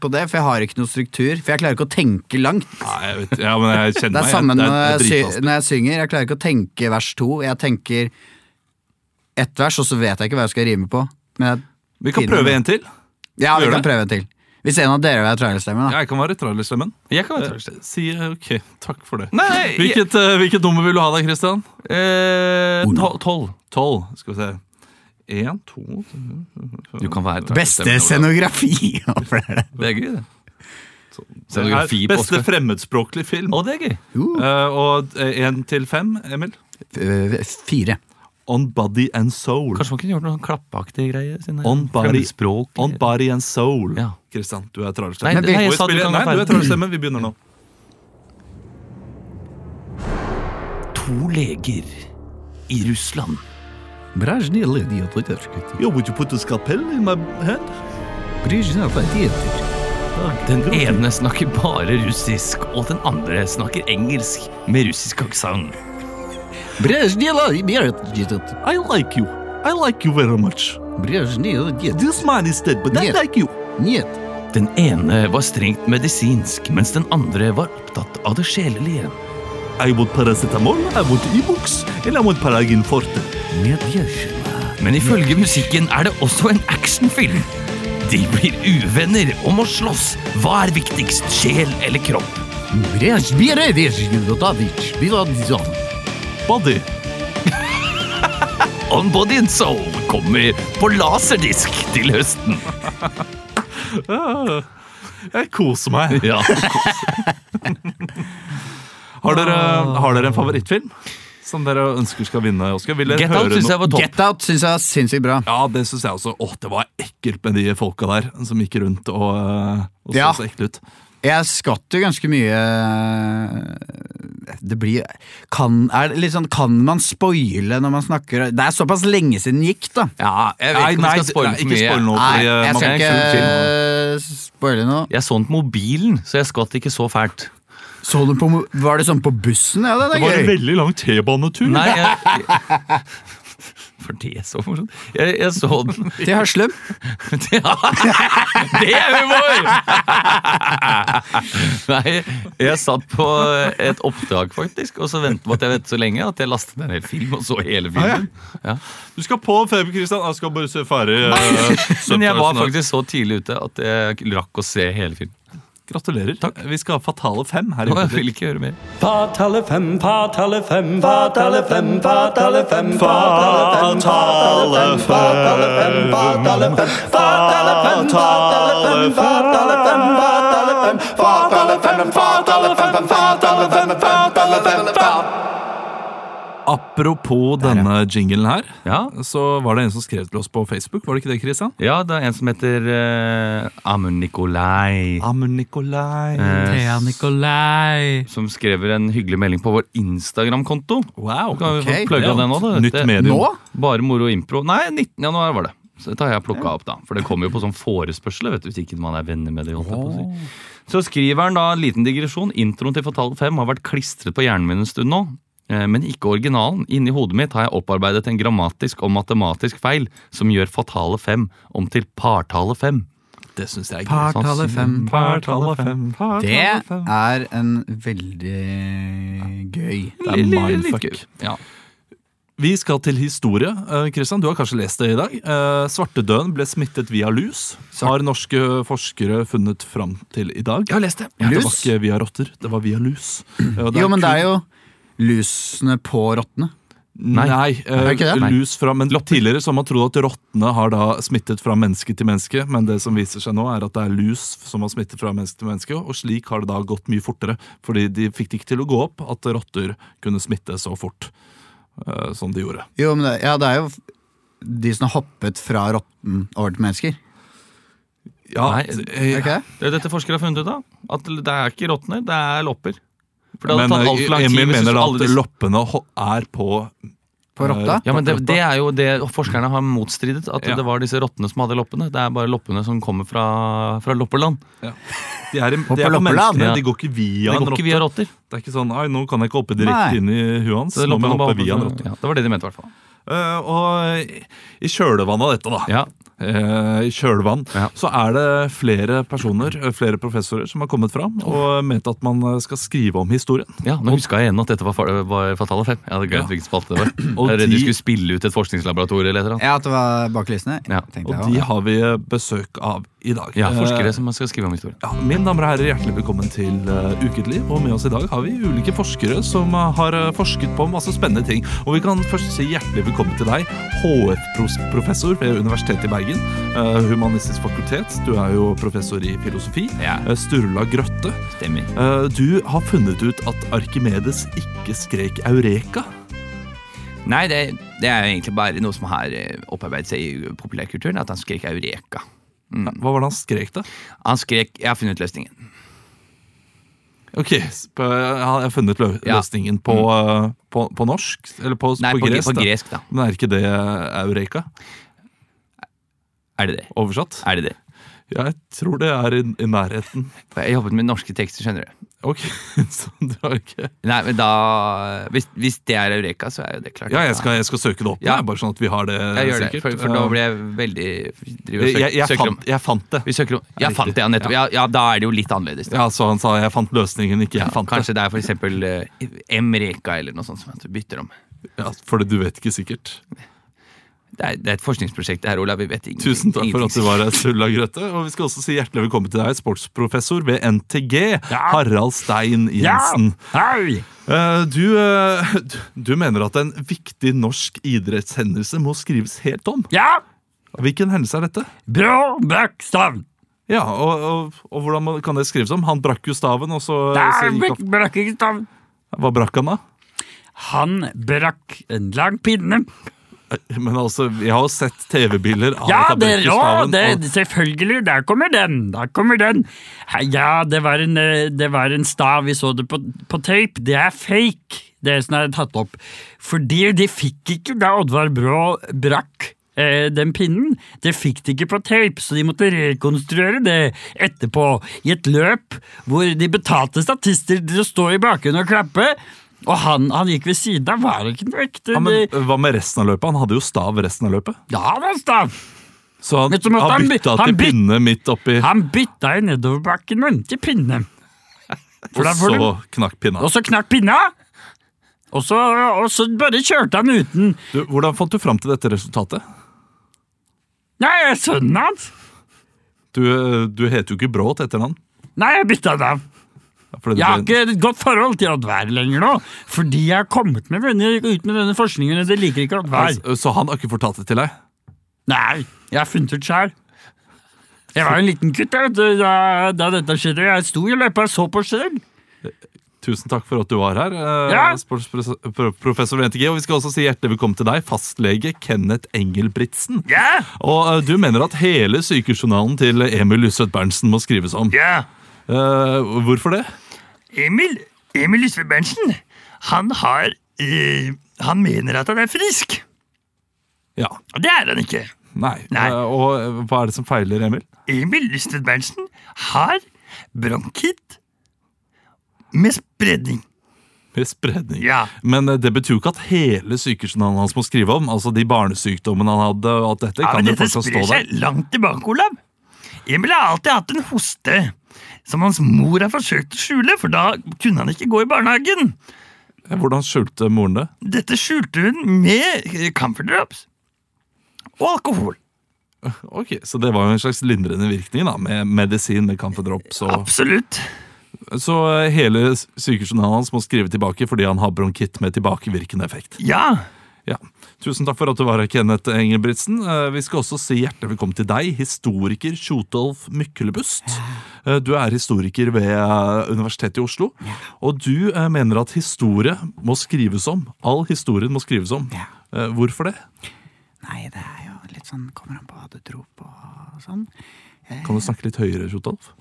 Speaker 3: på det, for jeg har ikke noe struktur. For jeg klarer ikke å tenke langt.
Speaker 1: Nei, jeg vet, ja, men jeg kjenner
Speaker 3: Det er
Speaker 1: meg.
Speaker 3: samme
Speaker 1: det
Speaker 3: når
Speaker 1: er-
Speaker 3: jeg,
Speaker 1: det er
Speaker 3: sy
Speaker 1: dritvanskelig.
Speaker 3: når jeg synger. Jeg klarer ikke å tenke vers to. Jeg tenker ett vers, og så vet jeg ikke hva jeg skal rime på. Men jeg,
Speaker 1: Vi kan prøve en til.
Speaker 3: ja, vi
Speaker 1: gjør
Speaker 3: kan
Speaker 1: det.
Speaker 3: prøve en til. Hvis en av dere er trailerstemme, da.
Speaker 1: Jeg kan være trailerstemmen.
Speaker 2: Jeg kan være
Speaker 1: Eh, Si eh, ok, takk for det.
Speaker 2: Nei,
Speaker 1: Hvilket, eh, hvilket nummer vil du ha da, Christian?
Speaker 2: eh, tol- tolv.
Speaker 1: Tolv. Skal vi se. Én, to
Speaker 2: Du kan være
Speaker 3: Beste scenografi! (laughs) Hvorfor er det?
Speaker 2: Det er gøy, det.
Speaker 1: Det er
Speaker 2: Scenografi på
Speaker 1: Beste
Speaker 2: Oscar.
Speaker 1: fremmedspråklig film.
Speaker 2: Å, det er gøy.
Speaker 1: Eh, og én til fem, Emil.
Speaker 3: Øh, Fire.
Speaker 1: On Body and Soul.
Speaker 2: Kanskje man kunne gjort noe sånn klappeaktig greie? siden det er
Speaker 1: On body-
Speaker 2: fremmedspråk.
Speaker 1: On Body and Soul.
Speaker 2: Ja.
Speaker 1: Christian, du er
Speaker 2: Nei,
Speaker 1: trailerstemme.
Speaker 2: det- nei, jeg sa du kan
Speaker 1: Nei, du er
Speaker 2: være ferdig.
Speaker 1: trailerstemme. Vi begynner nå.
Speaker 2: To leger i Russland.
Speaker 1: Yo, would you put a scalpel in my hand?
Speaker 2: Den ene snakker bare russisk, og den andre snakker engelsk med russisk aksent.
Speaker 1: I like you. I like you very much. This man is dead, but I
Speaker 4: Нет.
Speaker 1: like you.
Speaker 4: Нет.
Speaker 2: Den ene var strengt medisinsk, mens den andre var opptatt av det sjelelige.
Speaker 1: I want paracetamol, I want Ibux, and I want Paragin Forte.
Speaker 2: Men ifølge musikken er det også en actionfilm. De blir uvenner og må slåss. Hva er viktigst, sjel eller kropp?
Speaker 1: Body.
Speaker 2: (laughs) On Body and Soul kommer på laserdisk til høsten.
Speaker 1: (laughs) Jeg koser meg.
Speaker 2: (laughs) Ja.
Speaker 1: Har dere, har dere en favorittfilm som dere ønsker skal vinne Oscar? Vil dere
Speaker 2: Get
Speaker 1: høre
Speaker 2: Out syns
Speaker 1: noe-
Speaker 2: jeg var topp.
Speaker 3: Get Out syns jeg var sinnssykt bra.
Speaker 1: Ja, det syns jeg også. Åh, det var ekkelt med de folka der som gikk rundt og, eh, og så
Speaker 3: Ja.
Speaker 1: så ekle ut.
Speaker 3: Jeg skvatt jo ganske mye eh, Det blir kan, er det litt sånn, kan man spoile når man snakker Det er såpass lenge siden den gikk, da.
Speaker 2: Ja, jeg vet ikke om
Speaker 1: nei,
Speaker 2: jeg skal spoile
Speaker 1: nei,
Speaker 2: for
Speaker 1: ikke
Speaker 2: mye.
Speaker 1: spoil noe.
Speaker 3: Nei,
Speaker 1: fordi, eh,
Speaker 3: jeg
Speaker 1: man
Speaker 3: skal
Speaker 1: kan ikke-
Speaker 3: ikke spoile noe.
Speaker 2: Jeg så den på mobilen, så jeg skvatt ikke så fælt.
Speaker 3: Så du på, var det sånn på bussen? Ja, det
Speaker 1: Det var
Speaker 3: er
Speaker 1: en
Speaker 3: gøy.
Speaker 1: veldig lang T-banetur.
Speaker 2: Nei, jeg... (laughs) For det er så morsomt. Jeg, jeg så den (laughs)
Speaker 3: Til Haslum.
Speaker 2: Ja, det er humor! (laughs) Nei, jeg satt på et oppdrag, faktisk, og så ventet på at jeg ventet så lenge at jeg lastet ned en hel film og så hele filmen. Ah, Ja.
Speaker 1: Du skal på Feber Kristian. Jeg skal bare se ferdig. eh, (laughs)
Speaker 2: Men jeg var faktisk så tidlig ute at jeg rakk å se hele filmen.
Speaker 1: Gratulerer. Vi skal ha Fatale fem her
Speaker 2: Og
Speaker 1: i
Speaker 2: jeg vil ikke høre mer.
Speaker 7: Fatale fem, fatale fem, fatale fem, fatale fem, fatale fem, fatale fem, fatale fem, fatale fem, fatale fem, fatale fem, fatale fem, fatale fem, fatale fem, fatale fem, fatale fem, fatale fem, fatale fem.
Speaker 1: Apropos denne jinglen her,
Speaker 2: Ja,
Speaker 1: så var det en som skrev til oss på Facebook. Var det ikke det, Kristian?
Speaker 2: ja det er en som heter eh, Amund Nikolai.
Speaker 1: Amund Nikolai.
Speaker 2: Thea Nikolai. Som skrev en hyggelig melding på vår Instagram-konto.
Speaker 1: Wow.
Speaker 2: Kan vi
Speaker 3: Ok,
Speaker 2: få plugga
Speaker 1: ja.
Speaker 2: den nå, da?
Speaker 1: Nytt
Speaker 2: Det-
Speaker 1: medium.
Speaker 3: Nå?
Speaker 2: Bare moro impro. Nei, 19. januar var det. Så dette har jeg plukka opp, da. For det kommer jo på sånn forespørsel, vet du, hvis ikke man er venner med det. holdt jeg på å si. Så skriver han da en liten digresjon. Introen til Fatal 5 har vært klistret på hjernen min en stund nå. eh, Men ikke originalen. Inni hodet mitt har jeg opparbeidet en grammatisk og matematisk feil som gjør Fatale 5 om til Partale 5.
Speaker 1: Det syns jeg er gøy. Sånn
Speaker 3: Partale fem.
Speaker 1: Partale fem.
Speaker 3: Det er en veldig gøy
Speaker 1: Det er mindfuck.
Speaker 2: Ja.
Speaker 1: Vi skal til historie. Eh, Kristian, du har kanskje lest det i dag. Eh, Svartedauden ble smittet via lus. Har norske forskere funnet fram til i dag. Jeg har lest det. det var
Speaker 3: Lus?
Speaker 1: ikke via rotter, det var via lus. Eh, og
Speaker 3: Jo, men det
Speaker 1: kun-
Speaker 3: er jo lusene på rottene.
Speaker 1: Nei, eh,
Speaker 4: det ikke det?
Speaker 1: lus fra, men tidligere så har man trodd at rottene har da smittet fra menneske til menneske, men det som viser seg nå er at det er lus som har smittet fra menneske til menneske, og slik har det da gått mye fortere, fordi de fikk det ikke til å gå opp at rotter kunne smitte så fort eh, som de gjorde.
Speaker 4: Jo, men det, ja, det er jo f- de som har hoppet fra rotten over til mennesker.
Speaker 1: Ja,
Speaker 2: Nei,
Speaker 1: eh,
Speaker 4: Er ikke det?
Speaker 2: Det er dette forskere har funnet ut av. At det er ikke rottene, det er lopper. For det hadde
Speaker 1: men
Speaker 2: tatt alt for lang
Speaker 1: eh,
Speaker 2: tid
Speaker 1: Emil
Speaker 2: hvis
Speaker 1: mener da
Speaker 2: alle
Speaker 1: at
Speaker 2: disse-
Speaker 1: loppene ho- er på
Speaker 4: På rotta.
Speaker 2: Ja, men det, det er jo det forskerne har motstridet. At
Speaker 1: Ja.
Speaker 2: det var disse rottene som hadde loppene. Det er bare loppene som kommer fra, fra loppeland.
Speaker 1: De er, i, de
Speaker 4: på
Speaker 1: er på
Speaker 4: loppeland.
Speaker 1: menneskene,
Speaker 2: Ja.
Speaker 1: de går ikke via
Speaker 2: det
Speaker 1: en
Speaker 2: går ikke via
Speaker 1: rotte.
Speaker 2: rotter.
Speaker 1: Det er ikke sånn Ai, nå kan jeg ikke hoppe
Speaker 4: Nei.
Speaker 1: direkte inn i huet hans.
Speaker 2: Så
Speaker 1: Nå må jeg
Speaker 2: loppene bare
Speaker 1: hoppe via en
Speaker 2: fra-
Speaker 1: rotte.
Speaker 2: Ja, det var det de mente, i hvert fall.
Speaker 1: Eh, og i- i kjølvannet av dette, da.
Speaker 2: Ja.
Speaker 1: eh, i kjølvann,
Speaker 2: Ja.
Speaker 1: så er det flere personer, eh, flere professorer, som har kommet fram og ment at man eh, skal skrive om historien.
Speaker 2: Ja, Nå huska jeg igjen at dette var, fa- var Fatale 5. Jeg hadde
Speaker 1: Ja.
Speaker 2: glemt hvilken spalte det
Speaker 6: (clears throat)
Speaker 2: var.
Speaker 1: Og
Speaker 2: Jeg er redd
Speaker 1: de-
Speaker 2: de skulle spille ut et forskningslaboratorium eller et eller annet.
Speaker 4: Ja, at det var bak lysene?
Speaker 2: Ja,
Speaker 4: tenkte
Speaker 1: Og
Speaker 4: jeg
Speaker 1: de
Speaker 4: også.
Speaker 1: har vi eh, besøk av i dag.
Speaker 2: Ja,
Speaker 1: Eh,
Speaker 2: forskere som skal skrive om historien.
Speaker 1: Ja, mine damer og herrer, hjertelig velkommen til eh, Uketliv. Og med oss i dag har vi ulike forskere som eh, har eh, forsket på masse spennende ting. Og vi kan først si hjertelig velkommen til deg, HF-professor ved Universitetet i Bergen. eh, Humanistisk fakultet. Du er jo professor i filosofi.
Speaker 2: Ja.
Speaker 1: Eh, Sturla Grøtte.
Speaker 2: Stemmer.
Speaker 1: eh, Du har funnet ut at Arkimedes ikke skrek eureka.
Speaker 6: Nei, det, det er jo egentlig bare noe som har eh, opparbeidet seg i populærkulturen, at han skrek eureka.
Speaker 1: Hva var det han skrek, da?
Speaker 6: Han skrek 'jeg har funnet løsningen'.
Speaker 1: Ok, sp- Jeg har funnet lø
Speaker 6: Ja. Mm.
Speaker 1: løsningen på, eh, på, på norsk? Eller på,
Speaker 6: Nei, på,
Speaker 1: på gresk?
Speaker 6: på
Speaker 1: da.
Speaker 6: gresk, da.
Speaker 1: Men er ikke det eh, eureka?
Speaker 6: Er det det?
Speaker 1: Oversatt?
Speaker 6: Er det det?
Speaker 1: Jeg tror det er i, i nærheten.
Speaker 6: For jeg jobbet med norske tekster, skjønner du.
Speaker 1: Ok, (laughs) så du har ikke
Speaker 6: Nei, men da Hvis, hvis det er eureka, så er jo det klart.
Speaker 1: Ja, jeg skal, jeg skal søke det opp.
Speaker 6: Ja.
Speaker 1: det er Bare sånn at vi har det
Speaker 6: Jeg gjør det,
Speaker 1: sikkert.
Speaker 6: for, for da blir jeg veldig driver og
Speaker 1: jeg,
Speaker 6: søker,
Speaker 1: jeg, jeg,
Speaker 6: søker om.
Speaker 1: fant, jeg fant det.
Speaker 6: Vi søker om. Jeg fant det, ja, nettopp. Ja, ja, da er det jo litt annerledes. Da.
Speaker 1: Ja, Så han sa 'jeg fant løsningen', ikke 'jeg fant
Speaker 6: Kanskje det er for eksempel eh, M-reka eller noe sånt som du bytter om.
Speaker 1: det'. Ja, Fordi du vet ikke sikkert.
Speaker 6: Det er, det er et forskningsprosjekt det her, Olav. Vi vet ingenting.
Speaker 1: Tusen takk for at du
Speaker 6: ingenting.
Speaker 1: var her, Sulla Grøtte. Og vi skal også si hjertelig velkommen til deg, sportsprofessor ved NTG, Harald Stein Jensen. Eh, Du, eh, du- du mener at en viktig norsk idrettshendelse må skrives helt om.
Speaker 6: Ja!
Speaker 1: Hvilken hendelse er dette?
Speaker 6: Brå Bøkstav!
Speaker 1: Ja, og, og, og hvordan må- kan det skrives om? Han brakk jo staven, og så, så gikk han,
Speaker 8: Brakkingstad.
Speaker 1: Hva brakk han da?
Speaker 8: Han brakk en lang pinne.
Speaker 1: Men altså, jeg har jo sett TV-bilder av
Speaker 8: Ja,
Speaker 1: at han
Speaker 8: det,
Speaker 1: brekker
Speaker 8: ja
Speaker 1: staven.
Speaker 8: det, selvfølgelig! Der kommer den! Der kommer den. Hei, Ja, det var en, eh, det var en stav. Vi så det på, på tape. Det er fake, det som er tatt opp. Fordi de fikk ikke da Oddvar Brå brakk eh, den pinnen. Det fikk de ikke på tape, så de måtte rekonstruere det etterpå. I et løp hvor de betalte statister til å stå i bakgrunnen og klappe. Og han, han gikk ved siden av, var ikke noe ekte
Speaker 1: ja, men Hva med resten av løpet? Han hadde jo stav resten av løpet.
Speaker 8: Ja, det er stav!
Speaker 1: Så han,
Speaker 8: Men så måtte
Speaker 1: han
Speaker 8: han by-
Speaker 1: bytta
Speaker 8: han
Speaker 1: til
Speaker 8: byt-
Speaker 1: pinne midt oppi,
Speaker 8: Han bytta i nedoverbakken med til pinne. For
Speaker 1: og
Speaker 8: da får
Speaker 1: så
Speaker 8: du,
Speaker 1: knakk pinna.
Speaker 8: og så knakk pinna! Og så, og så bare kjørte han uten.
Speaker 1: Du, hvordan fant du fram til dette resultatet?
Speaker 8: Nei, jeg er sønnen hans!
Speaker 1: Du, eh, du heter jo ikke Brå til etternavn.
Speaker 8: Nei, jeg bytta navn.
Speaker 1: fordi det
Speaker 8: Jeg har
Speaker 1: ble-
Speaker 8: ikke et godt forhold til Oddvar lenger nå, fordi jeg har kommet med denne, ut med denne forskningen, og det liker ikke Oddvar.
Speaker 1: Altså, Så han har ikke fortalt det til deg?
Speaker 8: Nei, jeg har funnet ut sjæl. Jeg var jo en liten gutt jeg, vet du, da, da dette skjedde. Jeg sto i løypa og så på selv.
Speaker 1: Tusen takk for at du var her, eh,
Speaker 8: Ja.
Speaker 1: sportsprofessor ved NTG. Og vi skal også si hjertelig velkommen til deg, fastlege Kenneth Engelbritsen.
Speaker 8: Ja!
Speaker 1: Og eh, du mener at hele sykehusjournalen til Emil Lysvedt Berntsen må skrives om.
Speaker 8: ja.
Speaker 1: Eh, hvorfor det?
Speaker 8: Emil, Emil Lysve Berntsen, han har eh, Han mener at han er frisk.
Speaker 1: Ja,
Speaker 8: Og det er han ikke.
Speaker 1: nei.
Speaker 8: Nei.
Speaker 1: Eh, og eh, hva er det som feiler, Emil?
Speaker 8: Emil Lysve Berntsen har bronkitt med spredning.
Speaker 1: Med spredning.
Speaker 8: Ja.
Speaker 1: Men eh, det betyr jo ikke at hele sykehusjournalen hans må skrive om. Altså de barnesykdommene han hadde og alt dette.
Speaker 8: Ja,
Speaker 1: kan
Speaker 8: men
Speaker 1: jo
Speaker 8: dette
Speaker 1: fortsatt
Speaker 8: sprer
Speaker 1: stå der.
Speaker 8: seg langt tilbake, Olav. Emil har alltid hatt en hoste som hans mor har forsøkt å skjule, for da kunne han ikke gå i barnehagen.
Speaker 1: Hvordan skjulte moren det?
Speaker 8: Dette skjulte hun med eh, camphor drops og alkohol.
Speaker 1: Ok, Så det var jo en slags lindrende virkning da, med medisin, med kampedrops og
Speaker 8: Absolutt.
Speaker 1: Så eh, hele s- sykehusjournalen hans må skrive tilbake fordi han har bronkitt med tilbakevirkende effekt.
Speaker 8: Ja.
Speaker 1: Ja. Tusen takk for at du var her, Kenneth Engebrigtsen. Eh, Vi skal også si hjertelig velkommen til deg, historiker Kjotolf Myklebust. Eh, Du er historiker ved eh, Universitetet i Oslo, og du eh, mener at historie må skrives om. All historien må skrives om. Eh, Hvorfor det?
Speaker 8: Nei, det er jo litt sånn Kommer an på hva du tror på og sånn.
Speaker 1: Kan du snakke litt høyere, Kjotolf?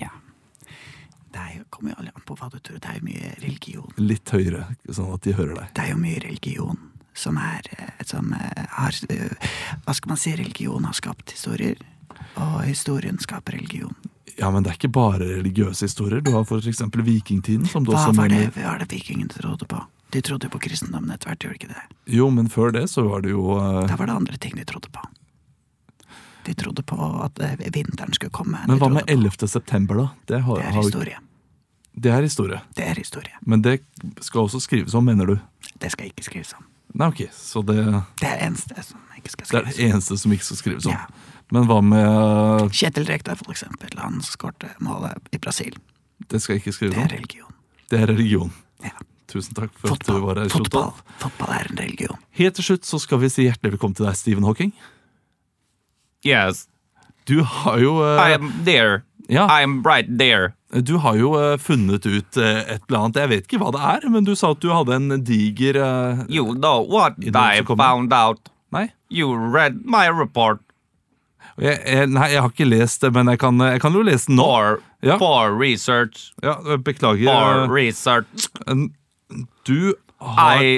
Speaker 8: Ja. Det er jo, kommer jo an på hva du tror. Det er jo mye religion.
Speaker 1: Litt høyere, sånn at de hører deg.
Speaker 8: Det er jo mye religion som er eh, Som eh, har eh, Hva skal man si? Religion har skapt historier. Og historien skaper religion.
Speaker 1: Ja, men det er ikke bare religiøse historier. Du har for eksempel vikingtiden, som du
Speaker 8: Hva
Speaker 1: også
Speaker 8: var det,
Speaker 1: mener.
Speaker 8: hva var det vikingene trodde på? De trodde jo på kristendommen etter hvert, gjorde de ikke det?
Speaker 1: Jo, men før det så var det jo eh,
Speaker 8: Da var det andre ting de trodde på. De trodde på at eh, vinteren skulle komme.
Speaker 1: Men
Speaker 8: de
Speaker 1: hva
Speaker 8: trodde
Speaker 1: med 11. september, da? Det, har,
Speaker 8: på- Det er
Speaker 1: har jo-
Speaker 8: historie.
Speaker 1: det er historie.
Speaker 8: Det er historie.
Speaker 1: Men det skal også skrives om, mener du?
Speaker 8: Det skal ikke skrives om.
Speaker 1: Nei, ok. Så det,
Speaker 8: Det er det eneste som ikke skal
Speaker 1: det er
Speaker 8: skrives
Speaker 1: det eneste som ikke skal skrives om.
Speaker 8: Ja.
Speaker 1: Men hva med eh,
Speaker 8: Kjetil Rekdal, for eksempel. Han skårte målet i Brasil.
Speaker 1: Det skal ikke skrives
Speaker 8: Det
Speaker 1: om?
Speaker 8: er religion.
Speaker 1: Det er religion.
Speaker 8: Ja.
Speaker 1: Tusen takk for at du var
Speaker 8: Fotball,
Speaker 1: her.
Speaker 8: fotball,
Speaker 1: Kjotolf.
Speaker 8: fotball er en religion.
Speaker 1: Helt til slutt så skal vi si hjertelig velkommen til deg, Stephen Hawking.
Speaker 2: Yes,
Speaker 1: Du har jo eh,
Speaker 2: I am there.
Speaker 1: ja.
Speaker 2: I am right there.
Speaker 1: Du har jo eh, funnet ut eh, et eller annet, jeg vet ikke hva det er, men du sa at du hadde en diger eh,
Speaker 2: You know what
Speaker 1: I den
Speaker 2: I
Speaker 1: som kommer.
Speaker 2: found out.
Speaker 1: Nei?
Speaker 2: You read my report
Speaker 1: Jeg, jeg, nei, jeg har ikke lest det, men jeg kan, eh, jeg kan jo lese den nå.
Speaker 2: for,
Speaker 1: Ja.
Speaker 2: for research.
Speaker 1: Ja, beklager.
Speaker 2: For
Speaker 1: eh,
Speaker 2: research.
Speaker 1: Du har
Speaker 2: I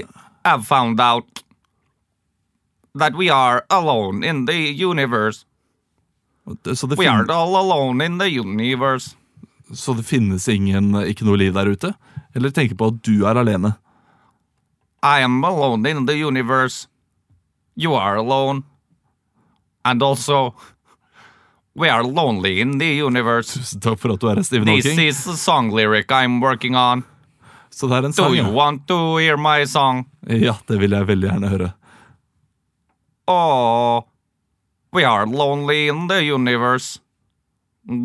Speaker 2: have found out that we are alone in the universe.
Speaker 1: så, det
Speaker 2: We
Speaker 1: fin-
Speaker 2: are all alone in the universe.
Speaker 1: så det finnes ingen, ikke noe liv der ute? Eller tenker på at du er alene?
Speaker 2: I am alone in the universe. You are alone. And also, we are lonely in the universe.
Speaker 1: Tusen takk for at du er her, Stephen
Speaker 2: This
Speaker 1: Hawking.
Speaker 2: is a song lyric I'm working on.
Speaker 1: Så det er en
Speaker 2: Do
Speaker 1: sang.
Speaker 2: you
Speaker 1: Ja.
Speaker 2: want to hear my song?
Speaker 1: ja, det vil jeg veldig gjerne høre.
Speaker 2: Oh, we are lonely in the universe.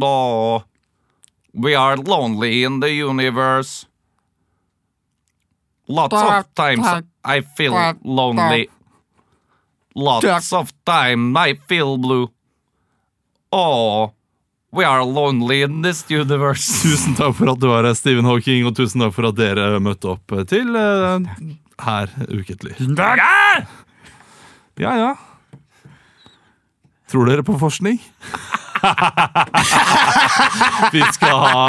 Speaker 2: Oh, we are lonely in the universe. Lots of times I feel lonely. Lots of time I feel blue. Oh, we are lonely in this universe.
Speaker 1: (laughs) Tusen takk for at du var her, Stephen Hawking, og tusen takk for at dere møtte opp til eh, her ukentlig.
Speaker 9: Tusen takk!
Speaker 1: Ja, ja. Tror dere på forskning? (laughs) Vi skal ha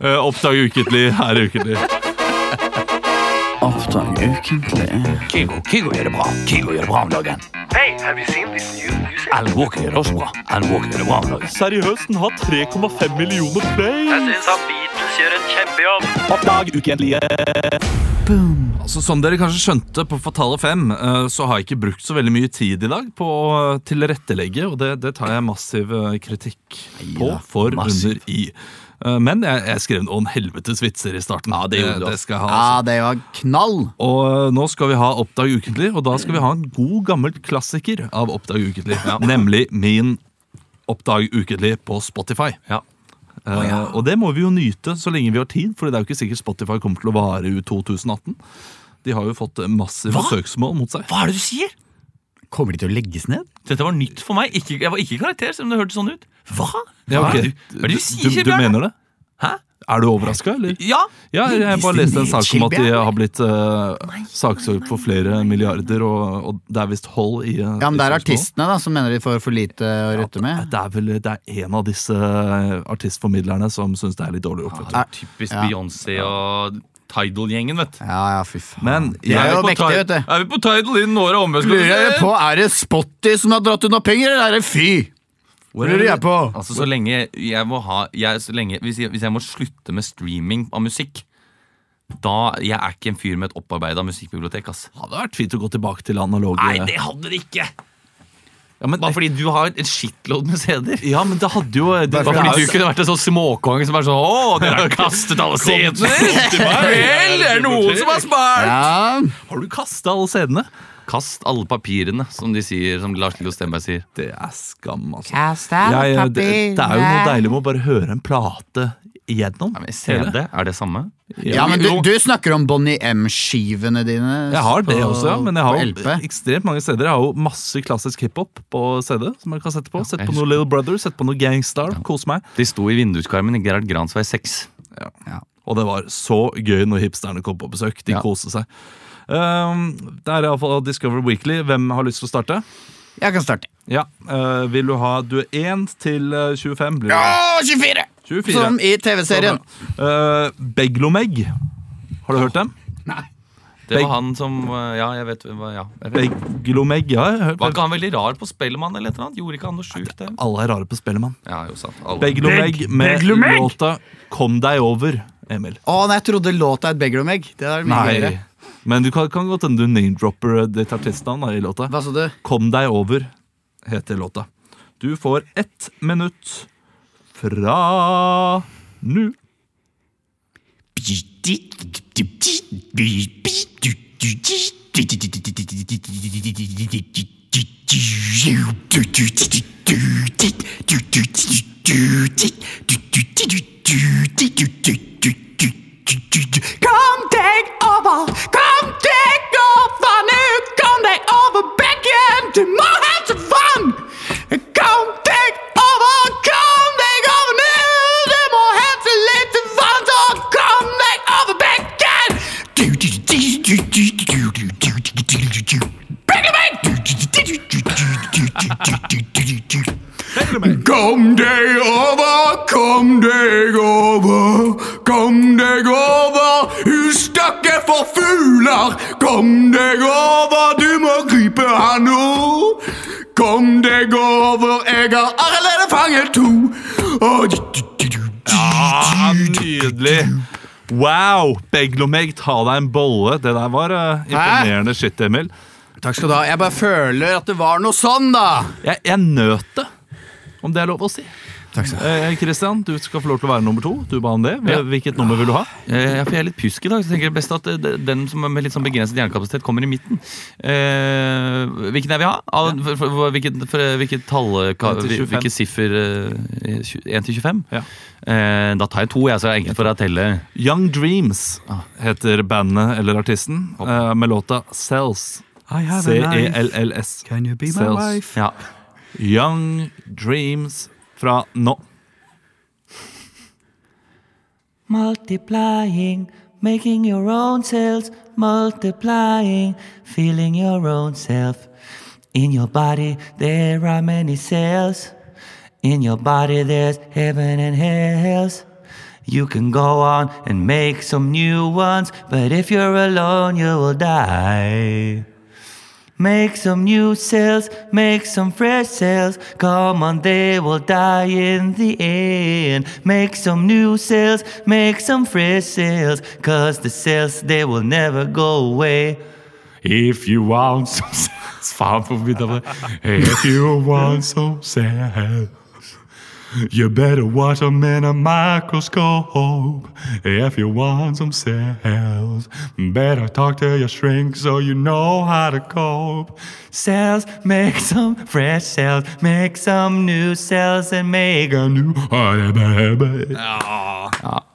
Speaker 1: eh, Oppdag ukentlig her ukentlig.
Speaker 10: Kygo, Kygo gjør det bra. Kygo gjør det bra om dagen. Alan Walker gjør det også bra. Alan Walker gjør det bra om dagen.
Speaker 1: Seriøst, den har 3,5 millioner play! Altså, som dere kanskje skjønte på Fatale 5, eh, så har jeg ikke brukt så veldig mye tid i dag på å eh, tilrettelegge, og det, det tar jeg massiv eh, kritikk på for
Speaker 10: massiv.
Speaker 1: under i. Eh, Men jeg, jeg skrev noen helvetes vitser i starten. Ja, det,
Speaker 10: gjorde du.
Speaker 1: det skal jeg ha. altså.
Speaker 3: Ja, det var knall!
Speaker 1: Og eh, nå skal vi ha Oppdag ukentlig, og da skal vi ha en god gammel klassiker av Oppdag ukentlig. Nemlig min Oppdag ukentlig på Spotify. Eh, og det må vi jo nyte så lenge vi har tid, for det er jo ikke sikkert Spotify kommer til å vare ut 2018. De har jo fått massive søksmål mot seg.
Speaker 2: Hva er det du sier?
Speaker 3: Kommer de til å legges ned?
Speaker 2: Dette var nytt for meg. Ikke, jeg var ikke i karakter, selv om det hørtes sånn ut. Hva?
Speaker 1: Ja,
Speaker 2: Hva er
Speaker 1: ok.
Speaker 2: det du- hva er det du sier,
Speaker 1: du, du
Speaker 2: Bjørn?
Speaker 1: mener det?
Speaker 2: Hæ?
Speaker 1: Er du overraska, eller?
Speaker 2: Ja.
Speaker 1: Ja, jeg bare leste en sak om at de har blitt uh, saksøkt for flere milliarder, og, og det er visst hold i eh,
Speaker 3: Ja, men
Speaker 1: i
Speaker 3: Det er
Speaker 1: søksmål.
Speaker 3: artistene da, som mener de får for lite eh, å rutte med.
Speaker 1: Det er vel det er en av disse eh, artistformidlerne som syns det er litt dårlig gjort. vet du.
Speaker 2: Typisk Beyoncé og Tidal-gjengen, vet du.
Speaker 3: Ja, ja, fy faen.
Speaker 1: Men
Speaker 3: De er
Speaker 1: jeg,
Speaker 3: jo mektige, vet du.
Speaker 2: Er vi på Tidal innen året omme? skal
Speaker 3: Lurer
Speaker 2: vi
Speaker 3: jeg
Speaker 2: se?
Speaker 3: på, Er det Spotty som har dratt unna penger, eller er det Fy?
Speaker 1: Hvor
Speaker 3: lurer jeg på?
Speaker 2: Altså, så lenge jeg må ha jeg, så lenge, hvis, jeg, hvis jeg må slutte med streaming av musikk da, Jeg er ikke en fyr med et opparbeida musikkbibliotek. ass
Speaker 1: hadde vært fint å gå tilbake til analoge
Speaker 2: Nei, det hadde det ikke!
Speaker 1: ja, men,
Speaker 2: Bare fordi du har en shitload med CD-er.
Speaker 1: ja, men det hadde jo det, det
Speaker 2: Bare
Speaker 1: er
Speaker 2: fordi
Speaker 1: jo-
Speaker 2: du kunne vært en sånn småkong som er sånn Å, dere har kastet alle CD-ene! Vel, det er noen som har spart!
Speaker 3: Ja,
Speaker 1: Har du kasta alle CD-ene?
Speaker 2: Kast alle papirene, som de sier, som Lars Lillo Stenberg sier.
Speaker 1: eh, Det er skam, altså. Jeg, det, det er jo noe deilig med å bare høre en plate igjennom.
Speaker 2: Nei, men CD er det samme?
Speaker 4: Ja, men du, du snakker om Bonnie M-skivene dine.
Speaker 1: Jeg har det
Speaker 4: på-
Speaker 1: også, ja, men jeg
Speaker 4: på
Speaker 1: har jo
Speaker 4: LP.
Speaker 1: ekstremt mange steder. Jeg har jo masse klassisk hiphop på CD. som jeg kan sette på. Sett på noe Little Brother, sett på noe Gangstar. Kos meg.
Speaker 2: De sto i vinduskarmen i Gerhard Grans vei 6.
Speaker 1: Og det var så gøy når hipsterne kom på besøk. De
Speaker 2: Ja.
Speaker 1: koste seg. Um, det er iallfall Discover Weekly. Hvem har lyst til å starte?
Speaker 4: Jeg kan starte.
Speaker 1: Ja, eh, Vil du ha Du er 1 til eh, 25. Blir det.
Speaker 4: Å, 24!
Speaker 1: 24.
Speaker 4: Som i TV-serien.
Speaker 1: Eh, Beglomeg. Har du hørt dem?
Speaker 2: Det
Speaker 1: Beg-
Speaker 2: var han som eh, Ja, jeg vet hva ja, jeg vet.
Speaker 1: Beglomeg, ja. jeg har hørt-
Speaker 2: Var ikke han veldig rar på Spellemann eller et eller annet? Gjorde ikke han noe sjukt der?
Speaker 1: Alle er rare på Spellemann.
Speaker 2: Ja, jo sant. Alle.
Speaker 1: Beglomeg
Speaker 8: Beg-
Speaker 1: med
Speaker 8: Beglomeg?
Speaker 1: låta 'Kom deg over', Emil.
Speaker 4: Å, nei, jeg trodde låta het Beglomegg. Det er mye gøyere.
Speaker 1: Nei. Men du kan, kan godt hende du name-dropper ditt artistnavn da i låta.
Speaker 4: Hva sa du?
Speaker 1: Kom deg over, heter låta. Du får ett minutt fra nå.
Speaker 3: Kom deg over, kom deg over nå! Kom deg over bekken, du må ha til vann! Kom deg over, kom deg over nå! Du må ha til litt vann, så kom deg over bekken! Bekken meg! Kom deg over, kom deg over, kom deg over, husstakke for fugler. Kom deg over, du må gripe han nå. Kom deg over, jeg har allerede fanget to. Og...
Speaker 1: Ah, nydelig! Wow! Beglomeg, ta deg en bolle. Det der var eh, imponerende shit, Emil.
Speaker 4: Takk skal du ha. Jeg bare føler at det var noe sånn, da.
Speaker 1: Jeg, jeg nøt det, om det er lov å si. Takk skal eh, Christian, du skal få lov til å være nummer to. Du ba om det.
Speaker 2: Ja.
Speaker 1: Hvilket nummer vil du ha?
Speaker 2: Eh, Ja, for jeg er litt pjusk i dag, så tenker jeg best at eh, de- den som er med litt sånn begrenset hjernekapasitet kommer i midten. Eh, hvilken er vi ha? Av- for- for- Hvilket, for- hvilket tall eh, ka-
Speaker 1: 1 til 25.
Speaker 2: Hvilket siffer eh, tju- 1 til 25?
Speaker 1: Ja.
Speaker 2: Eh, da tar jeg to, jeg, så det er enkelt for deg å telle.
Speaker 1: Young Dreams heter bandet eller artisten eh, med låta Cells. E C-E-L-L-S.
Speaker 8: Can you be my
Speaker 1: Cells.
Speaker 8: wife?
Speaker 2: Ja.
Speaker 1: Young Dreams fra nå.
Speaker 11: multiplying, making your own cells, multiplying, feeling your own self. In your body, there are many cells. In your body, there's heaven and hells. You can go on and make some new ones, but if you're alone, you will die. Make some new cells, make some fresh cells. Come on, they will die in the end. Make some new cells, make some fresh cells. Cause the cells, they will never go away.
Speaker 7: If you want some sense Faen, for mitt av det. If you want some sense You better watch them in a microscope. If you want some cells, better talk to your shrink so you know how to cope.
Speaker 11: Cells, make some fresh cells, make some new cells, and make
Speaker 7: A new honey, baby.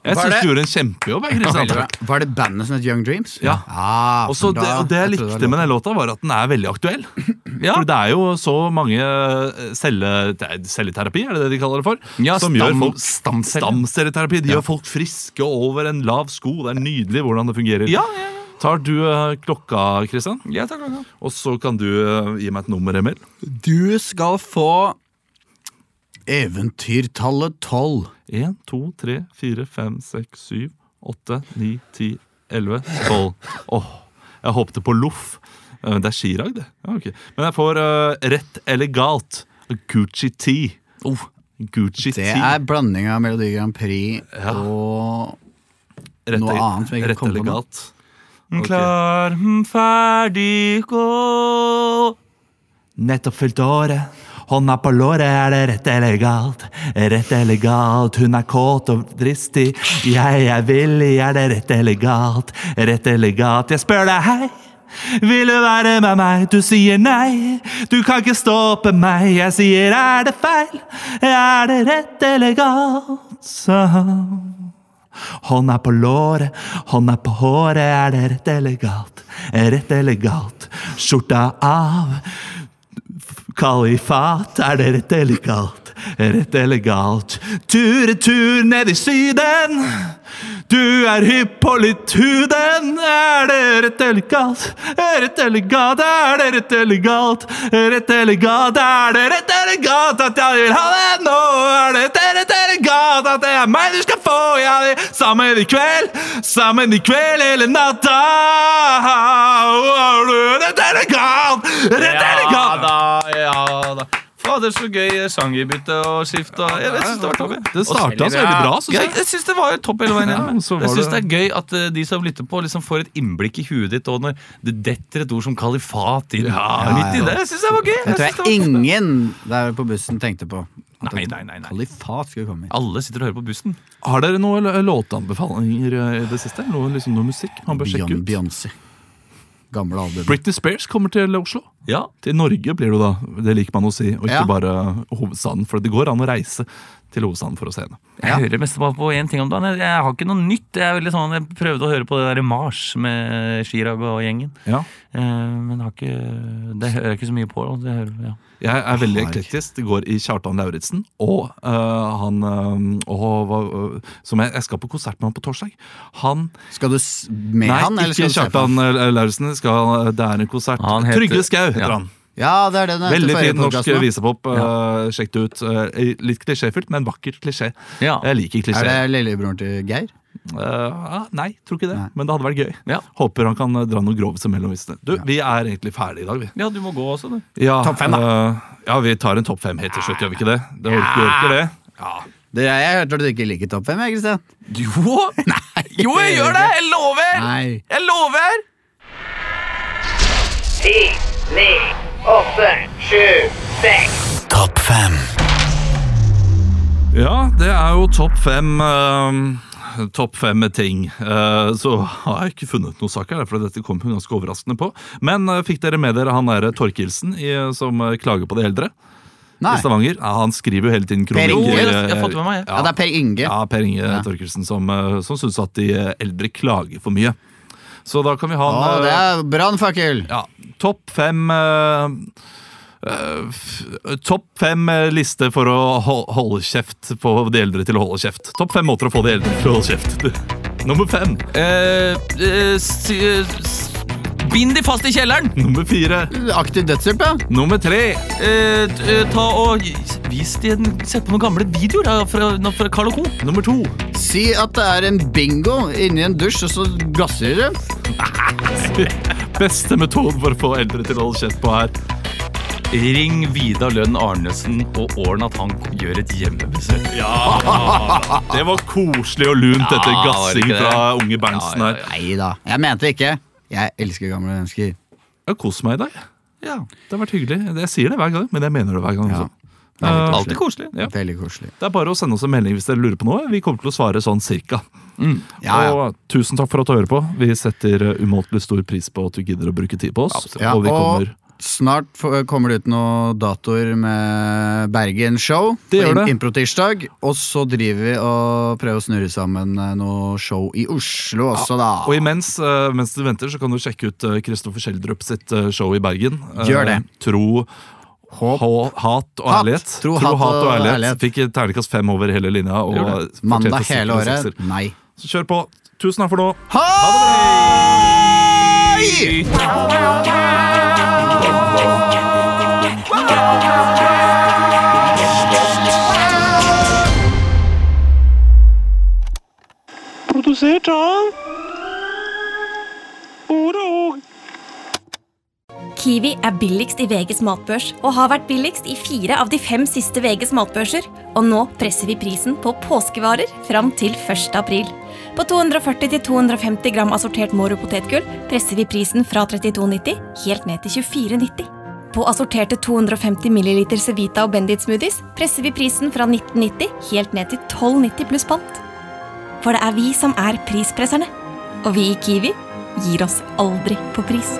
Speaker 1: Jeg
Speaker 4: Hva er
Speaker 1: syns
Speaker 4: det?
Speaker 1: du gjorde en kjempejobb. jeg, Kristian.
Speaker 4: Var det bandet som het Young Dreams?
Speaker 1: Ja.
Speaker 4: Ah,
Speaker 1: Også det,
Speaker 4: da-
Speaker 1: og det jeg
Speaker 4: trodde
Speaker 1: likte med den låta, var at den er veldig aktuell. For det er jo så mange eh, celle, det er celleterapi, er det det de kaller det for?
Speaker 2: Ja,
Speaker 1: som
Speaker 2: stam-
Speaker 1: gjør folk
Speaker 2: stamceller.
Speaker 1: Stamcelleterapi. De gjør folk friske over en lav sko. Det er nydelig hvordan det fungerer.
Speaker 2: Ja, ja, ja.
Speaker 1: Tar du eh, klokka, Kristian?
Speaker 2: Ja, takk, takk, takk.
Speaker 1: Og så kan du eh, gi meg et nummer, Emil.
Speaker 4: Du skal få Eventyrtallet tolv.
Speaker 1: 1, 2, 3, 4, 5, 6, 7, 8, 9, 10, 11, 12. Åh, jeg håpte på loff. Eh, Det er skirag, det. Ja, ok. Men jeg får eh, rett eller galt. Gucci T. Oh, Gucci
Speaker 4: Det
Speaker 1: T.
Speaker 4: er blanding av Melodi Grand Prix og
Speaker 1: Rett
Speaker 4: noe
Speaker 1: eller-
Speaker 4: annet som jeg ikke
Speaker 1: Rett
Speaker 4: kom på
Speaker 1: eller
Speaker 4: nå.
Speaker 1: galt.
Speaker 2: Klar, hm, ferdig, gå.
Speaker 11: Nettopp fylt året, hånda på låret, er det rett eller galt? Rett eller galt, hun er kåt og dristig. Jeg er villig, er det rett eller galt? Rett eller galt, jeg spør deg hei. Vil du være med meg? Du sier nei. Du kan ikke stoppe meg. Jeg sier er det feil? Er det rett eller galt? Så. Hånda på låret, hånda på håret, er det rett eller galt? Er Rett eller galt? Skjorta av, kalifat, er det rett eller galt? Er Rett eller galt? Tur-retur ned i Syden! Du er hypp på litt huden, er det rett eller galt? Er Rett eller galt, er det rett eller galt? Er Rett eller galt, er det rett eller galt at jeg vil ha deg nå? Er det rett eller dere galt at det er meg du skal få. Ja, det er sammen i kveld, sammen i kveld hele natta. Dette er det galt! Dette er det
Speaker 2: Ja
Speaker 11: galt!
Speaker 2: da, ja da. Fader, så gøy eh, sangbytte og skift. Og, jeg jeg synes det var topp. jeg.
Speaker 1: Det startet
Speaker 2: Og-
Speaker 1: så veldig bra, synes jeg.
Speaker 2: Ja, Jeg synes det var topp hele veien
Speaker 1: Ja,
Speaker 2: gjennom.
Speaker 1: så
Speaker 2: jeg
Speaker 1: var
Speaker 2: synes det
Speaker 1: det-
Speaker 2: er gøy at eh, de som lytter på, liksom får et innblikk i huet ditt. Og når det detter et ord som kalifat inn midt i det. Jeg synes det var gøy.
Speaker 3: Det tror
Speaker 2: synes det var
Speaker 3: jeg ingen der på bussen tenkte på. At
Speaker 2: Nei, nei, nei, nei.
Speaker 3: Kalifat skulle komme inn.
Speaker 2: Alle sitter og hører på bussen.
Speaker 1: Har dere noen l- låtanbefalinger eh, i det siste? Noe, liksom, noe musikk man bør sjekke ut?
Speaker 3: Beyoncé. Gamle album.
Speaker 1: Britney Spears kommer til Oslo.
Speaker 2: Ja.
Speaker 1: Til Norge blir det jo da, det liker man å si, og ikke
Speaker 3: Ja.
Speaker 1: bare hovedstaden. For det går an å reise til hovedstaden for å se henne.
Speaker 2: Jeg hører mest bare på én ting om dagen. Jeg, jeg har ikke noe nytt. Jeg, er veldig sånn, jeg prøvde å høre på det der i Mars med Chirag og gjengen.
Speaker 1: Ja.
Speaker 2: Eh, men har ikke, det hører jeg ikke så mye på. da. Det hører, ja.
Speaker 1: Jeg er veldig eklektisk. Det går i Kjartan Lauritzen og eh, han eh, og, hva- eh, Som jeg, jeg skal på konsert med han på torsdag. Han
Speaker 3: Skal du s- med
Speaker 1: Nei,
Speaker 3: han, eller
Speaker 1: ikke
Speaker 3: skal du se på
Speaker 1: Kjartan
Speaker 3: han?
Speaker 1: eh, Lauritzen. det skal- Det er en konsert.
Speaker 2: Han heter-
Speaker 1: Trygve Skau heter
Speaker 2: Ja.
Speaker 1: han.
Speaker 3: Ja, det er det den heter
Speaker 1: Veldig
Speaker 3: forrige
Speaker 1: fin norsk
Speaker 3: podcasten, da.
Speaker 1: visepop. eh, Sjekk det ut. Eh, litt klisjéfylt, men vakkert klisjé.
Speaker 2: Ja.
Speaker 1: Jeg liker klisjé.
Speaker 3: Er det lillebroren til Geir?
Speaker 1: Eh, ah, nei, tror ikke det.
Speaker 3: Nei.
Speaker 1: Men det hadde vært gøy.
Speaker 2: Ja.
Speaker 1: Håper han kan eh, dra noe grovt mellom visene. Du, vi er egentlig ferdige i dag, vi.
Speaker 2: ja, du må gå også, du.
Speaker 1: Ja,
Speaker 3: Topp fem,
Speaker 1: eh, ja, vi tar en topp fem helt til slutt, gjør vi ikke det? Det orker, vi orker det.
Speaker 3: Det, jeg hørte at du ikke liker topp fem, jeg, Kristian. (laughs)
Speaker 2: Jo! Nei, jo, jeg gjør det! Jeg lover!
Speaker 3: Nei.
Speaker 2: Jeg lover!
Speaker 12: Topp fem.
Speaker 1: Ja, det er jo topp fem eh, Topp fem ting. Eh, så har jeg ikke funnet noen sak her, for dette kom hun ganske overraskende på. Men eh, fikk dere med dere han derre Torkildsen i- som eh, klager på de eldre?
Speaker 3: Nei.
Speaker 1: I Stavanger. Ja, han skriver jo hele tiden
Speaker 3: Per Inge.
Speaker 1: kronikker.
Speaker 2: Jeg,
Speaker 1: eh,
Speaker 2: jeg har fått med meg, jeg.
Speaker 3: Ja, det er Per Inge.
Speaker 1: Ja, Per Inge Torkelsen som, eh, som syns at de eh, eldre klager for mye. Så da kan vi ha
Speaker 3: Å,
Speaker 1: en,
Speaker 3: det
Speaker 1: eh,
Speaker 3: er brannfakkel!
Speaker 1: ja, topp fem eh, eh, f- Topp fem eh, liste for å ho- holde kjeft på de eldre til å holde kjeft. Topp fem måter å få de eldre til å holde kjeft. (laughs) Nummer fem.
Speaker 2: Eh, eh, s- eh, s- bind de fast i kjelleren!
Speaker 1: Nummer fire.
Speaker 3: Aktiv dødshjelp, ja.
Speaker 1: Nummer tre.
Speaker 2: Eh, t- eh, ta og vis de en- Sett på noen gamle videoer da, fra, nå fra Carl og Co.
Speaker 1: Nummer to.
Speaker 3: Si at det er en bingo inni en dusj, og så gasser dere.
Speaker 1: Beste metoden for å få eldre til å holde kjeft på er
Speaker 2: Ring Vidar Lønn Arnesen og ordn at han gjør et hjemmebesøk.
Speaker 1: Det var koselig og lunt, dette
Speaker 2: Ja, var det
Speaker 1: gassing
Speaker 2: ikke det?
Speaker 1: fra unge Berntsen her.
Speaker 3: Nei da, jeg mente det ikke. Jeg elsker gamle mennesker.
Speaker 1: Jeg har kost meg i dag. Ja, Det har vært hyggelig. Jeg sier det hver gang, men jeg mener det hver gang.
Speaker 3: Ja.
Speaker 1: også. Eh,
Speaker 3: Det er litt
Speaker 2: Alltid koselig.
Speaker 1: Ja.
Speaker 3: Veldig koselig.
Speaker 1: Det er bare å sende oss en melding hvis dere lurer på noe. Vi kommer til å svare sånn cirka.
Speaker 3: Ja, ja.
Speaker 1: Og tusen takk for at du hører på. Vi setter eh, umåtelig stor pris på at du gidder å bruke tid på oss.
Speaker 3: Ja,
Speaker 1: og vi
Speaker 3: og
Speaker 1: kommer
Speaker 3: snart f- kommer det ut noen datoer med Bergen Show.
Speaker 1: Det gjør
Speaker 3: Im-
Speaker 1: det.
Speaker 3: Improtirsdag. Og så driver vi og prøver å snurre sammen eh, noe show i Oslo også, da.
Speaker 1: Og imens eh, mens du venter, så kan du sjekke ut eh, Kristoffer Schjelderup sitt eh, show i Bergen. Eh,
Speaker 3: Gjør det.
Speaker 1: Tro,
Speaker 3: Håp.
Speaker 1: hå- hat og
Speaker 3: Hat.
Speaker 1: ærlighet.
Speaker 3: Tro, hat og ærlighet.
Speaker 1: Fikk terningkast fem over hele linja. Og
Speaker 2: Gjorde
Speaker 1: fortjente
Speaker 3: Mandag
Speaker 1: sikkert
Speaker 3: hele
Speaker 1: en
Speaker 3: året.
Speaker 1: sekser.
Speaker 3: Nei.
Speaker 1: Så kjør på. Tusen takk for nå.
Speaker 8: Kiwi er billigst i VGs matbørs og har vært billigst i fire av de fem siste VGs matbørser. Og nå presser vi prisen på påskevarer fram til 1. april. På 240-250 gram assortert Moro potetgull presser vi prisen fra 32,90 helt ned til 24,90. På assorterte 250 ml Cevita og Bendit smoothies presser vi prisen fra 1990 helt ned til 12,90 pluss pant. For det er vi som er prispresserne. Og vi i Kiwi gir oss aldri på pris.